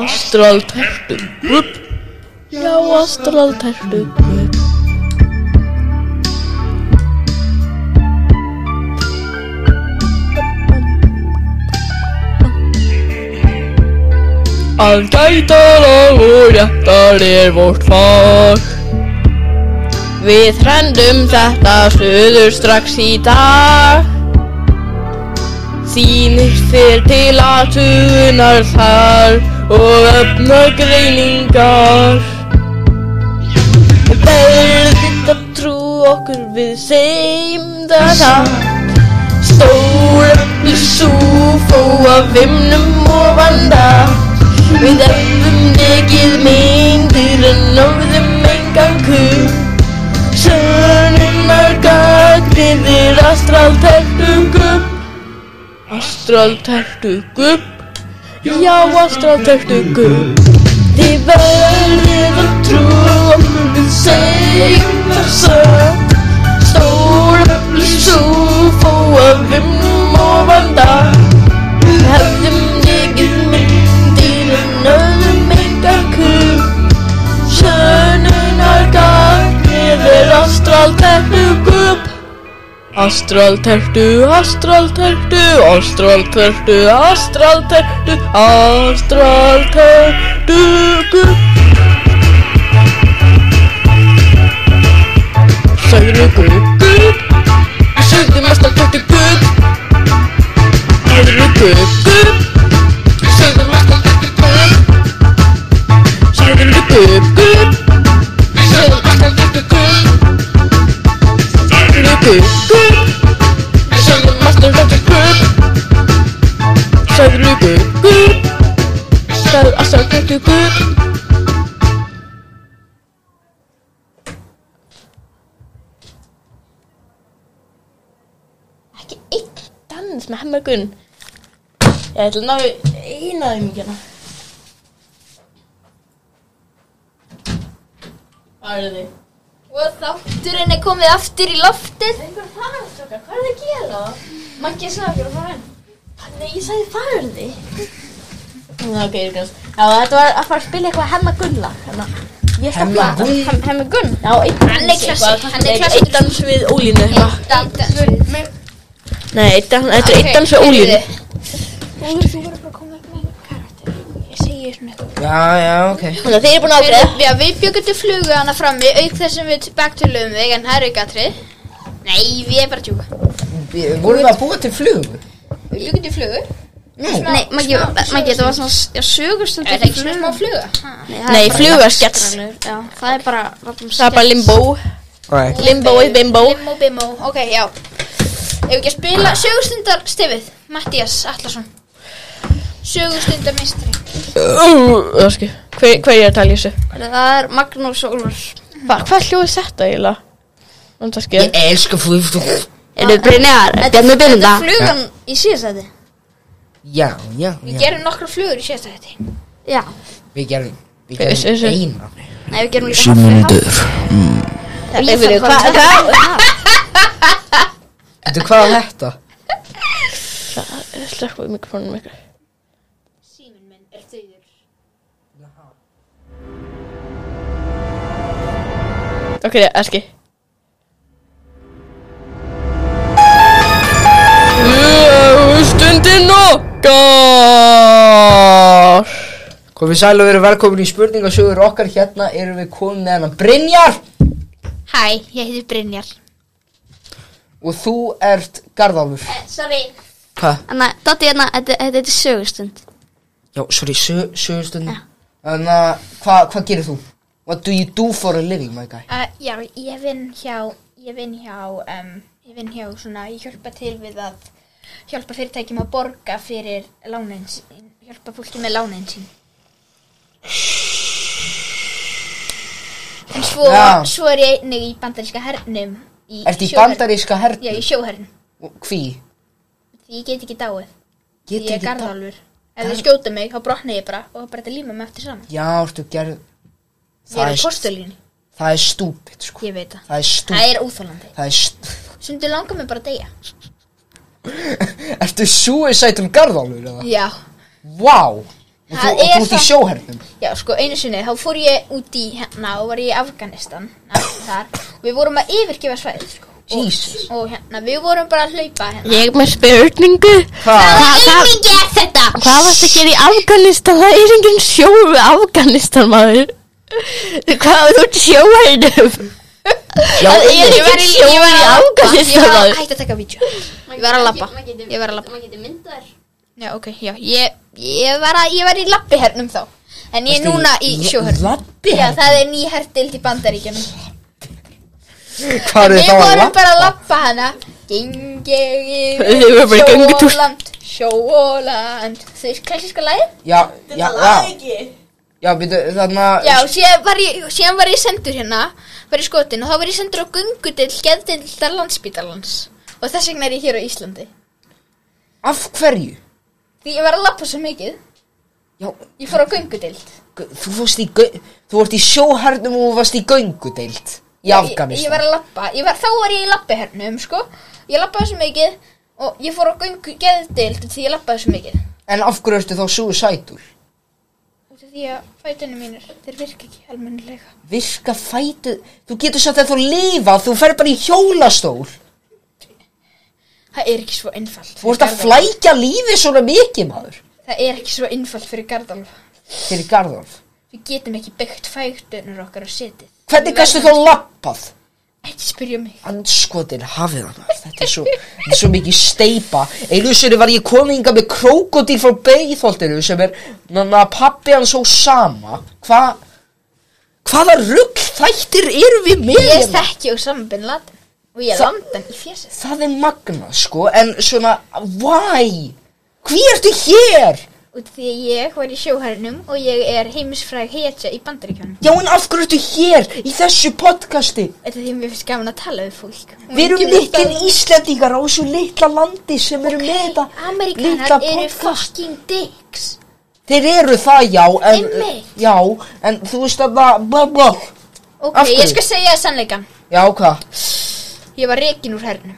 Speaker 2: Astral tertugup Já, astral tertugup Að gæta lag og réttar er vort fag Við hrendum þetta suður strax í dag Sýnir þér til að tunar þar og öfna greiningar Verðið að trú okkur við segjum þetta Stóra blúsú fóa vimnum og vanda Við öfum nekið myndir en náðum engan kuð Sönnunar gagnir astral tertugup Astral tertugup Já, ástráðtöktu Guð Þið verðið að trúa um Munum segja satt Stóra blísu Fóa vimm og vanda Við hefðum nekið myndir En öðrum engan kuð Sönnunar gagnið er ástráðtöktu Guð Astraltertu, astraltertu, astraltertu, astraltertu, astraltertu, guð. Sagðu guð, guð, við sögðum astraltertu guð. Sagðu guð, guð, við sögðum astraltertu guð. Sagðu guð, guð, við sögðum astraltertu guð. Sagðu guð, guð, við sögðum astraltertu guð. Sagðu guð, guð, við sögðum astraltertu guð. Ekki einn dans með hemmagun. Ég ætla að ná eina þeim ekki hérna. hana. Hvað eru þið?
Speaker 4: Og þátturinn er komið aftur í loftið Einhver farastrókar, hvað er það að gera? Maggi sagði okkur að fara inn
Speaker 2: Nei, ég sagði farði Ná, Mm, ok, ég gans Já, þetta var að fara að spila eitthvað hemma gulla hérna. Hemma
Speaker 3: Hemma
Speaker 2: gulla?
Speaker 3: Gunn
Speaker 1: Hef með gunn
Speaker 2: Já, einn
Speaker 4: Hann er klassik, hann er klassik.
Speaker 2: Eitt dans við ólínu eitthvað. Nei, einn dans- þetta er eitt dans við ólínu
Speaker 3: Já, já, ok
Speaker 2: Þannig að þeir eru búin að ákveða
Speaker 4: Já, við bjögum til flugu hana frammi auk þess sem við backtöluðum þig en það er ekki aðri Nei, við erum bara að tjúka
Speaker 3: Við- Vorum við að búa til flug?
Speaker 4: Við bjögum til flugu
Speaker 1: Nei, Maggi, Maggi, það var svona sögustundu
Speaker 4: Er það ekki svona smá fluga?
Speaker 2: Nei, flugaskets.
Speaker 1: Já, það er bara random
Speaker 2: Það er bara
Speaker 1: skets.
Speaker 2: limbo
Speaker 3: Right.
Speaker 2: Limbo is bimbo
Speaker 4: Bimbo, bimbo, ok, já Ef ekki að spila sögustundar stefið Mattías Allarsson Sögustundar meistri
Speaker 2: Ösku, hver hver er að tala í þessu?
Speaker 1: Það er Magnús Ólfur
Speaker 2: Hva- Hvað hljóð er þetta eiginlega? Vandarski
Speaker 3: Ég elska flug sko.
Speaker 1: Eru þið Brynjar? Bjarni
Speaker 4: Þetta
Speaker 1: Byrnda
Speaker 4: er
Speaker 1: flugan í síðastæti
Speaker 3: Já, já,
Speaker 4: Við
Speaker 3: já
Speaker 4: gerum nokkra flugur í síðasta þetta
Speaker 1: Já
Speaker 3: Við gerum Við
Speaker 2: Yes, yes, yes.
Speaker 3: gerum eina
Speaker 1: Nei, við gerum líka haffi
Speaker 2: Hvað
Speaker 3: Þetta hvað er þetta?
Speaker 2: Slökk við mikrofónum ykkur
Speaker 4: Síminn minn er döður
Speaker 2: Ok, Eski Stundin okkar
Speaker 3: Komið sæl og verið velkomin í spurningasögur okkar hérna erum við komin með hennan Brynjar
Speaker 4: Hæ, ég heiti Brynjar
Speaker 3: og þú ert Garðálfur
Speaker 4: Eh, Sorry
Speaker 3: Hvað?
Speaker 1: Þannig að Dotti hérna, þetta þetta er sögustund
Speaker 3: Já, sorry, sö- sögustundin Þannig að hvað hva gerir þú? What do you do for a living, my guy?
Speaker 4: Uh, já, ég vinn hjá, ég vinn hjá, um, ég vinn hjá svona, ég hjálpa til við að hjálpa fyrirtækjum að borga fyrir lánin sín, hjálpa fólki með lánin sín. En svo,
Speaker 3: Já.
Speaker 4: svo er ég einnig í bandaríska hernum. Í,
Speaker 3: Ertu í
Speaker 4: sjóhernum.
Speaker 3: bandaríska
Speaker 4: Já, í
Speaker 3: hernum?
Speaker 4: sjóhernum.
Speaker 3: Og Hví?
Speaker 4: Því ég get ekki dáið. Því
Speaker 3: Get
Speaker 4: ég er
Speaker 3: ekki það?
Speaker 4: garðálfur. Ef þau skjóta mig, þá brotna ég bara og það bara þetta líma mig eftir saman.
Speaker 3: Já, ertu gerð
Speaker 4: Ég
Speaker 3: Það
Speaker 4: er í
Speaker 3: er-
Speaker 4: postulínu,
Speaker 3: Það er stúpid, sko
Speaker 4: ég veit það.
Speaker 3: Það er
Speaker 4: Það
Speaker 3: stúpid
Speaker 4: er úþólandi.
Speaker 3: Það er st...
Speaker 4: Sundi langar mig bara að deyja.
Speaker 3: Ertu suicidal garðálfur, eða?
Speaker 4: Já.
Speaker 3: Vá! Og þú,
Speaker 4: Það
Speaker 3: og þú
Speaker 4: er
Speaker 3: ert í
Speaker 4: það-
Speaker 3: sjóhernum
Speaker 4: Já, sko, einu sinni, þá fór ég út í hérna og var ég í Afganistan na, þar, og við vorum að yfirgefa svæðið, sko. Og,
Speaker 3: Jesus.
Speaker 4: og hérna, við vorum bara að hlaupa hérna.
Speaker 2: Ég er með spurningu
Speaker 3: Hvað?
Speaker 4: Auðmingi er þetta!
Speaker 2: Ah. Hvað varst að gera í Afganistan? Það er engin sjóu Afganistan maður Hvað var þú ert í sjóhærinum?
Speaker 3: Já,
Speaker 2: Það
Speaker 4: Ég var
Speaker 2: er engin
Speaker 4: í- ég
Speaker 2: sjóu
Speaker 4: var
Speaker 2: í
Speaker 4: að labba. Ég
Speaker 2: Afganistan
Speaker 4: var að
Speaker 2: maður
Speaker 4: hætta að taka vídeo. Ég var að labba. Ég var að labba.
Speaker 1: getur myndað þér
Speaker 4: Já, ok, já, ég, ég var að, ég var í labbi hernum þá. En ég er núna í sjóhörnum.
Speaker 3: Lappi
Speaker 4: Já, það er ný herdild í bandaríkjunum.
Speaker 3: Hvað eru
Speaker 4: Við
Speaker 3: þá að
Speaker 4: vorum
Speaker 3: lappa?
Speaker 4: bara að labba hana. Geng ég yfir
Speaker 2: Þið voru bara í göngutúr.
Speaker 4: sjóland, sjóland. Þú veist klassíska lagið?
Speaker 3: Já, já, já Já, byrju, þannig að
Speaker 4: Já, síðan var, ég, síðan var ég sendur hérna, var ég skotin og þá var ég sendur á gungudill geðdildar landsbítalans og þess vegna er ég hér á Íslandi.
Speaker 3: Af hverju?
Speaker 4: Því ég var að lappa svo mikið.
Speaker 3: Já,
Speaker 4: Ég fór á göngudeild
Speaker 3: gu- þú fórst í, gau- þú vart í sjóhernum og þú varst í göngudeild Í
Speaker 4: Já,
Speaker 3: Afganistan
Speaker 4: Ég, ég var að lappa, ég var, þá var ég í lappihernum, sko. Ég lappaði svo mikið og ég fór á göngu geðdeild því ég lappaði svo mikið.
Speaker 3: En af hverju ertu þá suicidal?
Speaker 4: Út af því að fætunum mínir, þeir virka ekki almennilega.
Speaker 3: Virka fætu Þú getur samt að þú lifa Þú fer bara í hjólastól
Speaker 4: Það er ekki svo einfalt.
Speaker 3: Þú
Speaker 4: fyrir
Speaker 3: ert að
Speaker 4: Garðalf.
Speaker 3: flækja lífið svona mikið maður
Speaker 4: Það er ekki svo einfalt fyrir Garðalf.
Speaker 3: Fyrir Garðolf
Speaker 4: Við getum ekki byggt fætunur okkar á setið.
Speaker 3: Hvernig gastu þá lappað?
Speaker 4: Ekki spyrja mig.
Speaker 3: Anskotin hafið hann maður. Þetta er svo, þetta er svo mikið steipa Einu sinni var ég kominga með krókodil frá beigþoltinu sem er Nanna pappi hann svo sama Hva Hvaða rugg þættir eru við með
Speaker 4: Ég
Speaker 3: hérna?
Speaker 4: þekki og samanbinn latin og ég
Speaker 3: Þa-
Speaker 4: landa hann í fjesið.
Speaker 3: Það er magna sko En svona, why? Hví ertu hér?
Speaker 4: Út af því að ég var í sjóhernum og ég er heimisfræg hetja í bandaríkjónum.
Speaker 3: Já en af hverju ertu hér í þessu podcasti?
Speaker 4: Þetta er því að mér finnst gaman að tala við fólk.
Speaker 3: Við erum mikil Íslendingar á þessu litla landi sem eru með þetta litla
Speaker 4: Amerikanar eru
Speaker 3: podcast.
Speaker 4: fucking dicks.
Speaker 3: Þeir eru það, já, en,
Speaker 4: Einmitt.
Speaker 3: já, en þú veist að það, bla, bla,
Speaker 4: Ok,
Speaker 3: Af hverju?
Speaker 4: ég skal segja það sannleikan.
Speaker 3: já, hvað,
Speaker 4: Ég var rekin úr hernum.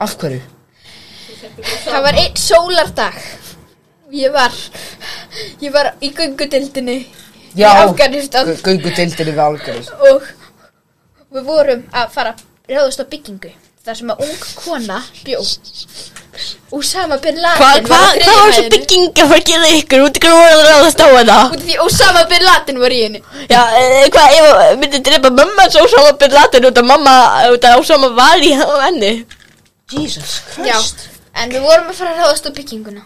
Speaker 3: af hverju?
Speaker 4: Það var einn sólardag. Ég var, ég var í göngudildinni
Speaker 3: Já,
Speaker 4: í Afganistan
Speaker 3: göngu deildinni við Afganistan.
Speaker 4: og við vorum að fara að ráðast á byggingu. þar sem að ung kona bjó. Og sama bin Laden
Speaker 2: Hvað hva,
Speaker 4: á
Speaker 2: hva
Speaker 4: þriðju
Speaker 2: var þessi
Speaker 4: hæðinni.
Speaker 2: bygging að fara að gera ykkur? Þú tekur að voru að ráðast á þetta
Speaker 4: Út af því Osama bin Laden var í henni
Speaker 2: Já, eh, hvað, ég myndi drepa mamma svo Osama bin Laden út af mamma, út af Osama var í henni
Speaker 3: Jesus
Speaker 4: Já,
Speaker 3: Christ.
Speaker 4: en við vorum að fara að ráðast á bygginguna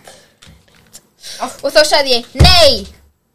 Speaker 4: Og þá sagði ég, nei,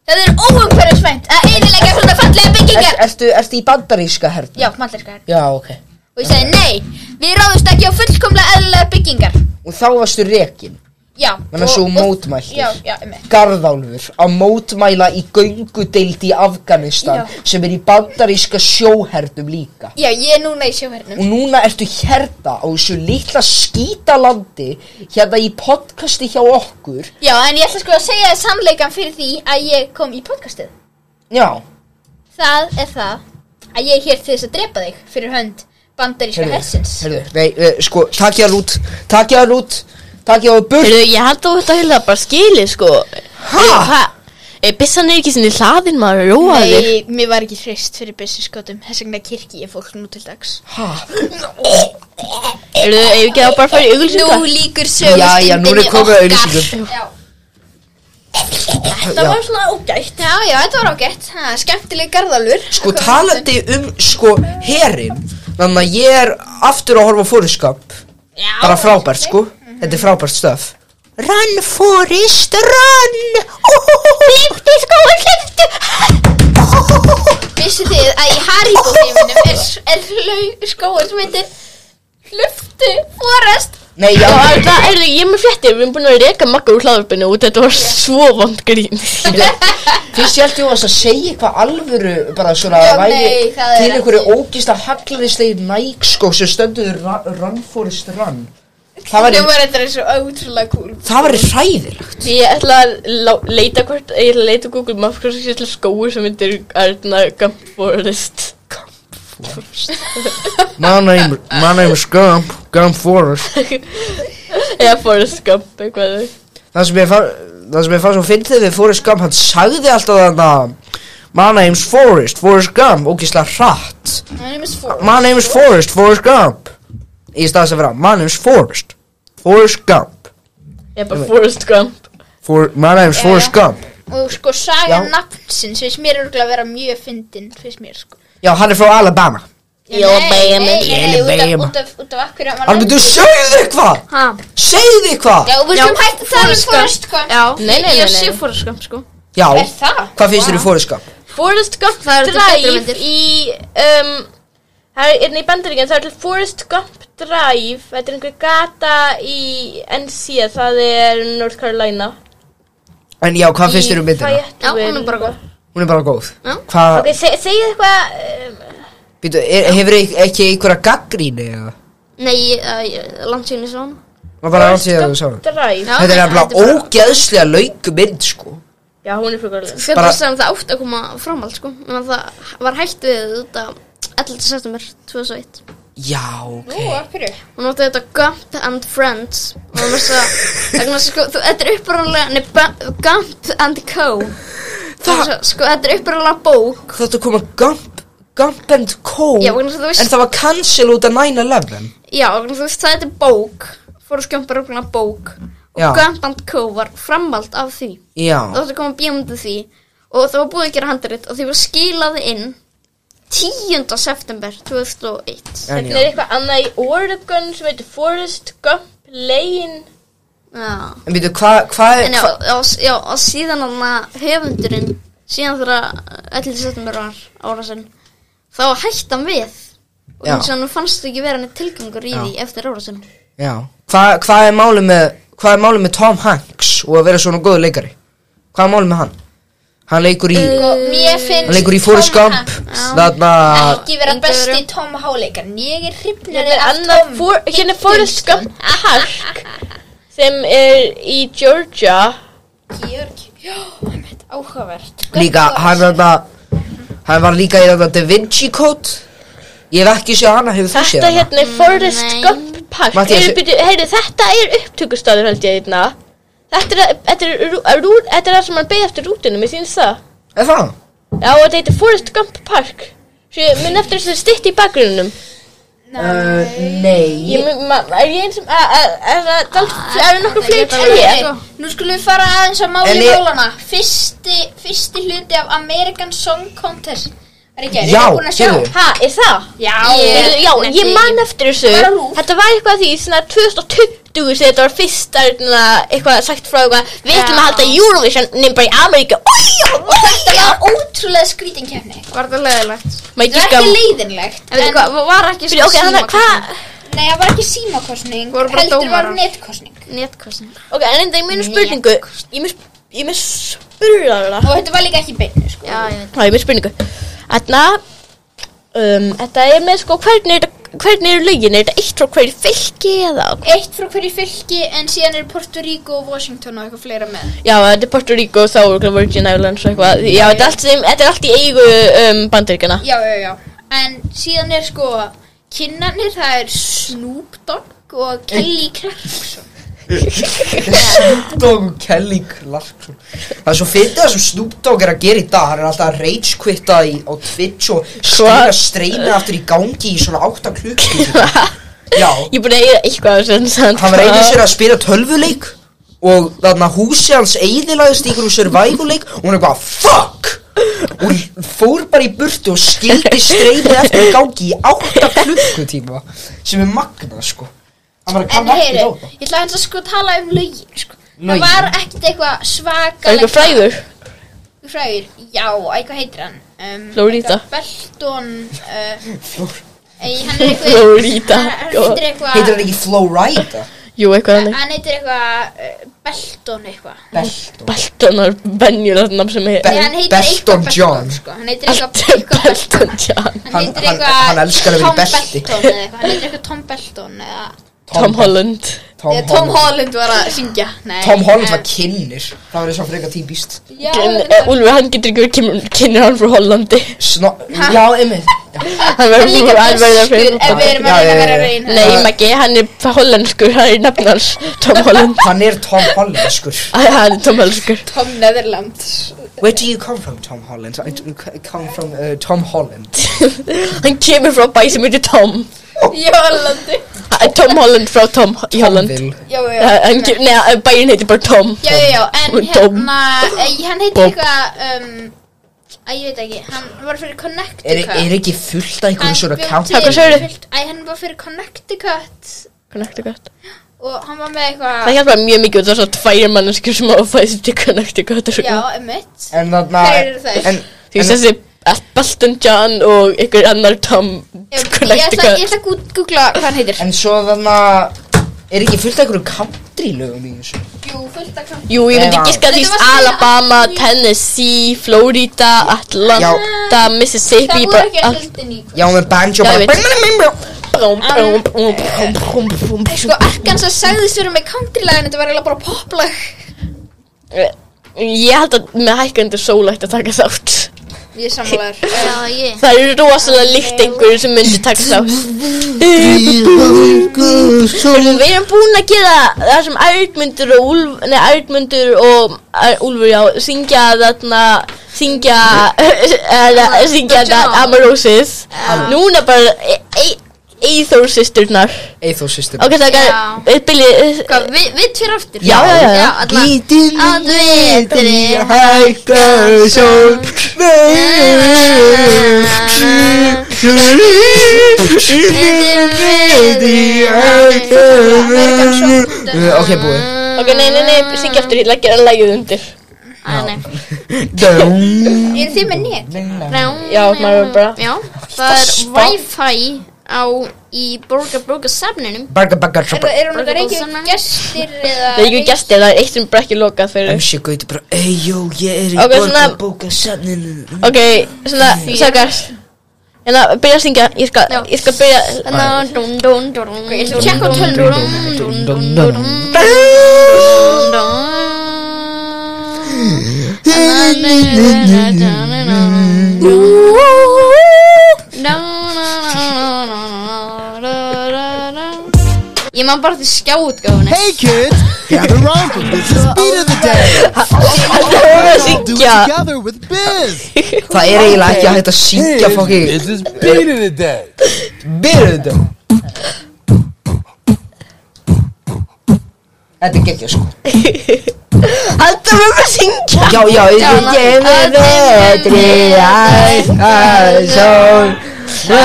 Speaker 4: það er óumhverfisvænt að einilega svona fallega
Speaker 3: Er,
Speaker 4: byggingar
Speaker 3: ertu, ertu í bandaríska hernum?
Speaker 4: Já, mallerskar
Speaker 3: Já, ok.
Speaker 4: Og ég sagði, nei, við ráðumst ekki á fullkomlega eðlilega byggingar
Speaker 3: Og þá varstu rekin,
Speaker 4: Já
Speaker 3: Menn að
Speaker 4: og-
Speaker 3: svo
Speaker 4: og-
Speaker 3: mótmæltir.
Speaker 4: Já, já, emi
Speaker 3: Garðálfur, að mótmæla í göngu deildi í Afganistan
Speaker 4: Já.
Speaker 3: sem er í bandaríska sjóhernum líka.
Speaker 4: Já, ég er núna í sjóhernum
Speaker 3: Og núna ertu hérna á þessu litla skítalandi hérna í podcasti hjá okkur.
Speaker 4: Já, en ég ætla sko að segja þér sannleikan fyrir því að ég kom í podcastið
Speaker 3: Já,
Speaker 4: Það er það að ég er hér til þess að drepa þig fyrir hönd bandaríska hersins
Speaker 3: Herðu, nei, eh, sko, takk ég hann út Takk ég hann út Takk ég hann burt
Speaker 2: Heyrðu, ég held að þetta hefði bara skilið, sko
Speaker 3: Ha?
Speaker 2: Hæ? Bissan er ekki sinni hlaðin maður, róaði þig
Speaker 4: Nei, mér var ekki hrist fyrir byssuskotum Þess vegna kirkji ég fólk nú til dags
Speaker 2: Heyrðu, ef ekki þá bara að fara í
Speaker 4: Nú
Speaker 2: auglýsingar
Speaker 4: líkur
Speaker 3: Já, já, nú er
Speaker 4: sögustundinni
Speaker 3: komið að
Speaker 4: okkar
Speaker 3: auðlýsingum.
Speaker 4: Já,
Speaker 1: Þetta var svona ógætt.
Speaker 4: já, já, þetta var ágætt Ha, Skemmtileg garðalur
Speaker 3: Sko, talandi um, sko, herin Þannig að ég er aftur að horfa á fóruskap Bara frábært, sko Þetta er frábært stöf Run, Forrest, run Liftu, sko, liftu
Speaker 4: Vissu þið að í Harry Potter-heiminum er, er skóar sem heitir Hluftu Forrest
Speaker 3: Nei, já,
Speaker 2: Já, en það, heyrðu, ég er með fréttir, við erum búin að reka makka úr hlaðarpinu og þetta var svo vond grín
Speaker 3: fyrst ég held ég varst að segja eitthvað alvöru Bara svona
Speaker 4: Já,
Speaker 3: væri
Speaker 4: nei, það er
Speaker 3: Til einhverju
Speaker 4: ekki.
Speaker 3: ógist að haglarislegi næg, sko Sem stönduðu run, run, Forrest, run Það
Speaker 4: Það
Speaker 3: væri,
Speaker 4: var þetta eins og ótrúlega cool
Speaker 3: það væri hræðilegt
Speaker 2: Ég ætla að lá- leita hvort, ég ætla að leita á Google Maps hvort ég ætla skói sem myndir Arna Gump Forest
Speaker 3: My name, my name is Gump, Gump Forrest
Speaker 2: Eða Forest Gump, eitthvað þau
Speaker 3: Það sem ég fann, það sem ég fann svo fyndið við Forrest Gump, hann sagði alltaf þarna My name's Forrest, Forrest Gump, ógislega hratt
Speaker 4: My name is Forrest
Speaker 3: My name's Forrest, Forrest Gump Í staðis að vera, my name's Forrest, Forrest Gump
Speaker 2: Ég er bara Forest Gump
Speaker 3: For, My name's
Speaker 4: Já,
Speaker 3: Forrest
Speaker 4: já.
Speaker 3: Gump
Speaker 4: Og sko, saga
Speaker 3: Já.
Speaker 4: nafnsins finnst mér örugglega að vera mjög fyndin Finnst mér sko
Speaker 3: Já, hann er frá Alabama
Speaker 4: Nei,
Speaker 2: Alabama.
Speaker 4: nei, nei, út af-
Speaker 3: Alabama.
Speaker 4: Út af, út af akkur
Speaker 3: Hann myndur, segðu eitthvað,
Speaker 1: Ha?
Speaker 3: segðu eitthvað
Speaker 4: Já, við skulum hægt að tala um
Speaker 1: Forrest Gump.
Speaker 4: Forrest Gump
Speaker 1: Já.
Speaker 2: Nei, nei, nei,
Speaker 1: Ég
Speaker 2: nei.
Speaker 1: sé Forrest Gump, sko.
Speaker 3: Já,
Speaker 4: Er það?
Speaker 3: hvað finnst þér í Forrest Gump?
Speaker 2: Forest Gump
Speaker 1: Það eru til betri
Speaker 2: Drive
Speaker 1: myndir.
Speaker 2: í, um, það er einnig í bandaríkjan, það er til Forest Gump Drive Þetta er einhver gata í NC, það er North Carolina
Speaker 3: En já, hvað finnst þér um myndina? Ah.
Speaker 1: Já, hún er bara góð.
Speaker 3: Hún er bara góð
Speaker 1: Já.
Speaker 3: Hvað,
Speaker 2: Ok, seg, segið eitthvað, um,
Speaker 3: býtu, er- hefur ekki einhverja gaggríni eða?
Speaker 1: Nei, uh, langt síðan ég sá hana.
Speaker 3: Það var bara allt síðan þú sá hann
Speaker 2: Drive
Speaker 1: Já,
Speaker 3: Þetta er
Speaker 1: þetta-
Speaker 3: nefnilega
Speaker 1: þetta er bara-
Speaker 3: ógeðslega lauk mynd sko
Speaker 2: Já, Já, hún er frá Garland.
Speaker 1: Fyrir
Speaker 3: Bara-
Speaker 1: þess að það átt að koma framhald sko En það var hægt við þetta 11. september 2001
Speaker 3: Já, ok
Speaker 4: Nú, af hverju?
Speaker 1: Hún átti þetta Gump and Friends Og hún var svo vegna þess að, sko, þú- Þetta er uppræðanlega Nei, Bu- Gump and Co Það er svo, sko, þetta er uppræðanlega bók
Speaker 3: Þú ætti að koma Gump, Gump and Co
Speaker 1: Já, vegna þess að þú veist-
Speaker 3: En það var cancel út af 9-11
Speaker 1: Já, vegna þess að þú veist, það þetta er bók Fóru skjömpar uppræðanlega bók Og
Speaker 3: Já.
Speaker 1: Gump and Co var framhald af því
Speaker 3: Já,
Speaker 1: Það átti að koma bíómyndu því Og það var búið að gera handrit Og því var skilað inn 10. september 2001
Speaker 3: en
Speaker 2: Þetta
Speaker 3: já
Speaker 2: er eitthvað annað í Oregon sem heitir Forest Gump Lane.
Speaker 1: Já
Speaker 3: En veitu, hvað, hvað
Speaker 1: En já,
Speaker 3: hva,
Speaker 1: já, s- já, og síðan hann að höfundurinn, síðan þegar 11. september var ára sinn, þá hætti hann við. Og
Speaker 3: Já.
Speaker 1: eins og hann fannst ekki vera henni tilgangur í
Speaker 3: Já.
Speaker 1: því eftir ára sinn.
Speaker 3: Já, hvað hva er málið með Hvað er málið með Tom Hanks og að vera svona góður leikari? Hvað er málið með hann? Hann leikur í,
Speaker 4: Og Sko,
Speaker 1: Mm. Eh,
Speaker 4: mér
Speaker 3: hann
Speaker 4: finnst
Speaker 3: leikur í Forrest
Speaker 4: Tom
Speaker 3: Gump
Speaker 1: Já.
Speaker 3: Þarna
Speaker 4: Hanks ekki vera
Speaker 1: Enga
Speaker 4: besti
Speaker 1: veru.
Speaker 4: Tom Háleikar Ég er
Speaker 2: Hérna
Speaker 4: hrifnari
Speaker 2: er
Speaker 4: af
Speaker 2: annað,
Speaker 4: Tom
Speaker 2: for, hérna er
Speaker 4: Hiddleston.
Speaker 2: Forest Gump Park sem er í Georgia.
Speaker 4: Georg Já, einmitt, áhugavert
Speaker 3: Líka, hann þarna Hann var líka í þarna Da Vinci Code Ég hef ekki séð hana, hefur þú séð
Speaker 2: Þetta
Speaker 3: hana?
Speaker 2: hérna er Forest
Speaker 1: Nei.
Speaker 2: Gump Park.
Speaker 3: Matthías,
Speaker 2: Heyrðu, byrju, heyrðu, þetta er upptökustadur held ég hérna. Þetta er, þetta er, rú- rú- þetta er það sem hann beigði eftir rútinu, mér finnst það.
Speaker 3: Er það?
Speaker 2: Já, og þetta heitir Forest Gump Park Svo ég minn eftir þessu stytt í bakgrunum
Speaker 3: Uh, nei
Speaker 2: Ég mun, ma- er ég eins og, að- að- er það dálítið- eru nokkur fleiri
Speaker 1: Ég-
Speaker 2: telja?
Speaker 4: Nú skulum við fara aðeins að máli
Speaker 3: En ég-
Speaker 4: jólana Fyrsti, fyrsti hluti af American Song Contest Er ekki, er
Speaker 3: Já,
Speaker 4: það búin að sjá?
Speaker 3: gerðu.
Speaker 2: Ha, er það?
Speaker 4: Já,
Speaker 2: Ég, já, ég man eftir þessu
Speaker 4: Bara rúf.
Speaker 2: Þetta var eitthvað af því, svona 2020 sem þetta var fyrst hérna, eitthvað sagt frá eitthvað Við ætlum að halda Eurovision nema bara í Ameríku Oj, já, oj,
Speaker 4: Þetta
Speaker 2: já
Speaker 4: var ótrúlega skrítinkefni
Speaker 1: Var það leiðilegt?
Speaker 2: Má ég
Speaker 4: Þetta er
Speaker 2: gíska á
Speaker 4: ekki leiðinlegt
Speaker 1: En veitu hvað, va- var ekki
Speaker 2: Byrju, ok, þannig að hvað
Speaker 4: Nei, það var ekki símakostning
Speaker 1: Voru bara
Speaker 4: Heldur var
Speaker 1: dómarar.
Speaker 4: netkostning
Speaker 1: Netkosning.
Speaker 2: Ok, en enda, ég mun spurningu Ég mun, ég mun spurða það
Speaker 4: Og þetta var líka ekki í beinni, sko
Speaker 1: Já, ég veit.
Speaker 2: Það er mér spurningu Þarna um, Þetta er með sko hvernig er þetta Hvernig eru lögin? Er þetta eitt frá hverju fylki eða?
Speaker 4: Eitt frá hverju fylki En síðan er Puerto Rico og Washington og eitthvað fleira með
Speaker 2: Já, þetta er Puerto Rico, þá er okkur Virgin Islands og eitthvað Já, þetta er allt, sem, þetta er allt í eigu um, bandaríkjana
Speaker 4: Já, já, já En síðan er sko Kinnarnir, það er Snoop Dogg og Kelly Clarkson
Speaker 3: Snoop Dogg og Kelly Clarkson Það er svo fyndið það sem Snoop Dogg er að gera í dag Hann er alltaf að rage quitta í, á Twitch og
Speaker 2: Hva?
Speaker 3: stýra streymi aftur í gangi í svona 8 klukkur Já,
Speaker 2: Ég er búin að eiga eitthvað af þessum sant
Speaker 3: hann var einu sér að spila tölvuleik og þarna húsi hans eiðilaðist í einhverjum survival-leik og hún er bara fuck og fór bara í burtu og skildi streymi eftir í gangi í 8 klukkutíma sem er magna sko hann var að
Speaker 4: En
Speaker 3: kann ekki
Speaker 4: heyri,
Speaker 3: á það
Speaker 4: ég ætla hans að sko tala um lögin sko.
Speaker 3: Lögin?
Speaker 4: Það var ekkert eitthvað
Speaker 2: Það er
Speaker 4: svakalega
Speaker 2: eitthvað frægur
Speaker 4: Frægur, já, eitthvað heitir hann um,
Speaker 2: Florida.
Speaker 4: eitthvað Belton uh, Ei, hann er eitthvað
Speaker 2: Florida
Speaker 4: Hann hann heitir eitthvað
Speaker 3: heitir hann ekki Flowrida?
Speaker 2: Jú, eitthvað þannig
Speaker 4: Hann heitir eitthvað uh, Belton eitthvað
Speaker 3: Belton
Speaker 2: Baltonar venjulega nafn sem
Speaker 3: Be-
Speaker 2: er
Speaker 4: Nei, hann heitir
Speaker 3: Belton
Speaker 4: eitthvað
Speaker 3: John.
Speaker 4: sko. Hann heitir
Speaker 2: Allt
Speaker 4: eitthvað
Speaker 2: er
Speaker 4: eitthvað Belton
Speaker 2: Balton John
Speaker 4: Hann heitir
Speaker 3: Hann-
Speaker 4: eitthvað
Speaker 3: hann- hann elskar að vera í
Speaker 4: Tom
Speaker 3: belti.
Speaker 4: Belton eða eitthvað Hann heitir eitthvað Tom Belton eða
Speaker 2: Tom Holland
Speaker 4: Tom, Tom Holland var að syngja Nei,
Speaker 3: Tom Holland var
Speaker 4: eh,
Speaker 3: kynir Það var eins og frekar típist
Speaker 4: Já,
Speaker 2: En,
Speaker 4: hann var-
Speaker 2: eh, Úlfur, hann getur ekki verið kynir hann frá Hollandi
Speaker 3: Sno Já, einmitt
Speaker 2: Hann
Speaker 4: hann er
Speaker 2: verður
Speaker 4: líka
Speaker 2: frá- hann verður frá
Speaker 4: danskur, En við erum
Speaker 3: Já,
Speaker 4: að reyna
Speaker 3: já,
Speaker 4: að vera
Speaker 3: já, já.
Speaker 4: reyn
Speaker 2: Nei, Maggi, hann er frá hollenskur, hann er nafn hans Tom Holland
Speaker 3: Hann er Tom Holland skur
Speaker 2: Æ, Hann er Tom Hollenskur
Speaker 4: Tom Netherland
Speaker 3: Where do you come from Tom Holland? I do come from uh, Tom Holland
Speaker 2: Hann kemur frá bæ sem heitir Tom
Speaker 4: Í Hollandi
Speaker 2: Ha- Tom Holland frá Tom Ho- í Holland
Speaker 3: Tomville.
Speaker 4: Já, já,
Speaker 2: Eh, hann ke- Nei, eh, bæinn heitir bara Tom
Speaker 4: já, já, já, en
Speaker 2: Og Dom.
Speaker 4: hérna eh, Hann heitir
Speaker 2: Bob.
Speaker 4: eitthvað um, Æ, ég veit ekki Hann var fyrir
Speaker 3: Er,
Speaker 4: Connecticut
Speaker 3: er ekki fullt af einhverjum svona count
Speaker 2: Hvað sagðirðu?
Speaker 4: Æ, hann var fyrir Connecticut
Speaker 2: Connecticut
Speaker 4: Og hann var með eitthvað
Speaker 2: Það hjálpa mjög mikið út af svo tvær manneskur sem hafa fæðist í Connecticut og
Speaker 4: Já,
Speaker 2: svona.
Speaker 4: emitt
Speaker 3: En þarna
Speaker 4: Hver eru þeir?
Speaker 3: En
Speaker 2: Því
Speaker 3: en-
Speaker 2: þessi Balton John og einhver annar Tom
Speaker 4: Ég ætla ég
Speaker 2: Connecticut
Speaker 4: ætla að gú- googla hvað hann heitir
Speaker 3: En svo þarna Er ekki fullt af einhverjum country lögum í þessu
Speaker 4: Jú, fullt af
Speaker 2: Jú, ég myndi
Speaker 3: Nei, vá.
Speaker 2: gíska því
Speaker 4: Þetta var svona-
Speaker 2: Alabama, Tennessee, Florida, Atlanta,
Speaker 4: Það
Speaker 2: Mississippi
Speaker 4: voru
Speaker 2: bara
Speaker 4: ekki
Speaker 2: allt-
Speaker 4: haldin í
Speaker 3: Já, með banjo
Speaker 2: Já, ég
Speaker 3: bara
Speaker 2: veit. Brum, brum, brum, brum, brum, brum,
Speaker 4: Sko,
Speaker 2: brum.
Speaker 4: um Arkansas sagðist vera með country lag en þetta var eiginlega bara poplag
Speaker 2: Eh, Ég held að með hækkandur sól ætti að taka þátt
Speaker 4: Ég Eh, samlar
Speaker 1: Já, ég
Speaker 2: Það eru rosalega líkt einhverju sem myndi taka þátt Heyrðu, Við erum búin að gera það sem Ærmundur og Úlf Nei, Ærmundur og Ær- Úlfur, já Syngja þarna Syngja eða, Syngja þarna Amarosis Núna bara e- e- Eithor sisturnar
Speaker 3: Eithor system
Speaker 2: Ok, það
Speaker 1: Já.
Speaker 2: er eh, Billy
Speaker 4: sko,
Speaker 1: Hvað, við, við tveir aftur?
Speaker 2: Já, já, já, já.
Speaker 1: alla Að vetri
Speaker 3: Hækkar sól Ok, búið
Speaker 4: Mm.
Speaker 2: Ok, nei, nei, nei, syngja aftur, ég leggja lægið undir
Speaker 4: Ah,
Speaker 1: Æ, nei
Speaker 4: Eru þið með net?
Speaker 2: Já, maður er bara-
Speaker 1: Já, það er wifi á í borga borga safninum
Speaker 3: Barga bagga
Speaker 4: Eru
Speaker 3: trappa
Speaker 4: eru hún
Speaker 1: Bara
Speaker 4: þetta reykjum
Speaker 1: góðsömmen.
Speaker 4: gestir eða
Speaker 2: Það er ekki gestir, það er eitt sem bara ekki lokað fyrir
Speaker 3: MC Gauti bara Eyjó, ég er í
Speaker 2: Ok,
Speaker 3: borga
Speaker 2: svona-
Speaker 3: bóka safninu
Speaker 2: Ok, svona, sakar Hérna, byrja að syngja, ég skal,
Speaker 1: Já.
Speaker 2: ég skal byrja
Speaker 1: Tjekk á tölunum Ég man bara til skjáutgáfunni
Speaker 6: Hey kids, gather round for Biz's beat of the day.
Speaker 2: Það er að
Speaker 6: Do
Speaker 2: syngja
Speaker 6: it together with Biz.
Speaker 3: Það er eiginlega ekki að hægt að syngja fokki
Speaker 6: Biz's beat of the day.
Speaker 3: Byrðu þetta Þetta er geggjað sko
Speaker 2: Haldur með að syngja
Speaker 3: Já, já, ég
Speaker 1: Já,
Speaker 3: ég
Speaker 1: að
Speaker 3: með betri Æ, sól Svo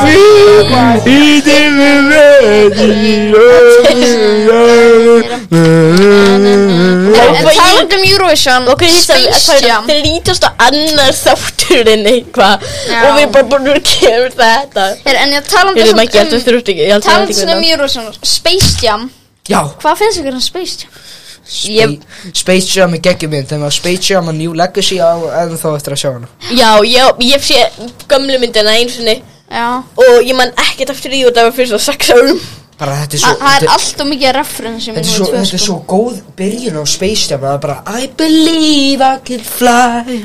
Speaker 3: fín Í dimmu betri
Speaker 1: En
Speaker 2: Ég-
Speaker 1: taland um Eurovision
Speaker 2: Ok,
Speaker 1: Space
Speaker 2: þetta
Speaker 1: Jam
Speaker 2: er rítast á annar þátturinn eitthvað Og við bara búin að kemur þetta
Speaker 1: Her, En ég taland
Speaker 2: Heyrðu, maður gert, þú
Speaker 1: um
Speaker 2: þurft ekki, ég held að
Speaker 1: Taland
Speaker 2: ég held
Speaker 1: um
Speaker 2: ekki
Speaker 1: Eurovision Space Jam
Speaker 3: Já,
Speaker 1: Hvað finnst ykkur um Space Jam?
Speaker 2: Ég-
Speaker 3: Spa- Space Jam er geggjum mynd Þegar maður Space Jam að New Legacy á En þá eftir að sjá hana
Speaker 2: Já, ég, ég sé gömlu myndina eins og
Speaker 1: Já
Speaker 2: Og ég Oh, man ekkert eftir því og það var fyrir svo sex árum
Speaker 3: Bara þetta er svo
Speaker 1: Þa- Það er
Speaker 3: þetta-
Speaker 1: allt og mikið referensum
Speaker 3: Þetta er, svo,
Speaker 1: sko.
Speaker 3: þetta er svo góð byrjun á Space Jam Það er bara I believe I can fly
Speaker 2: Ég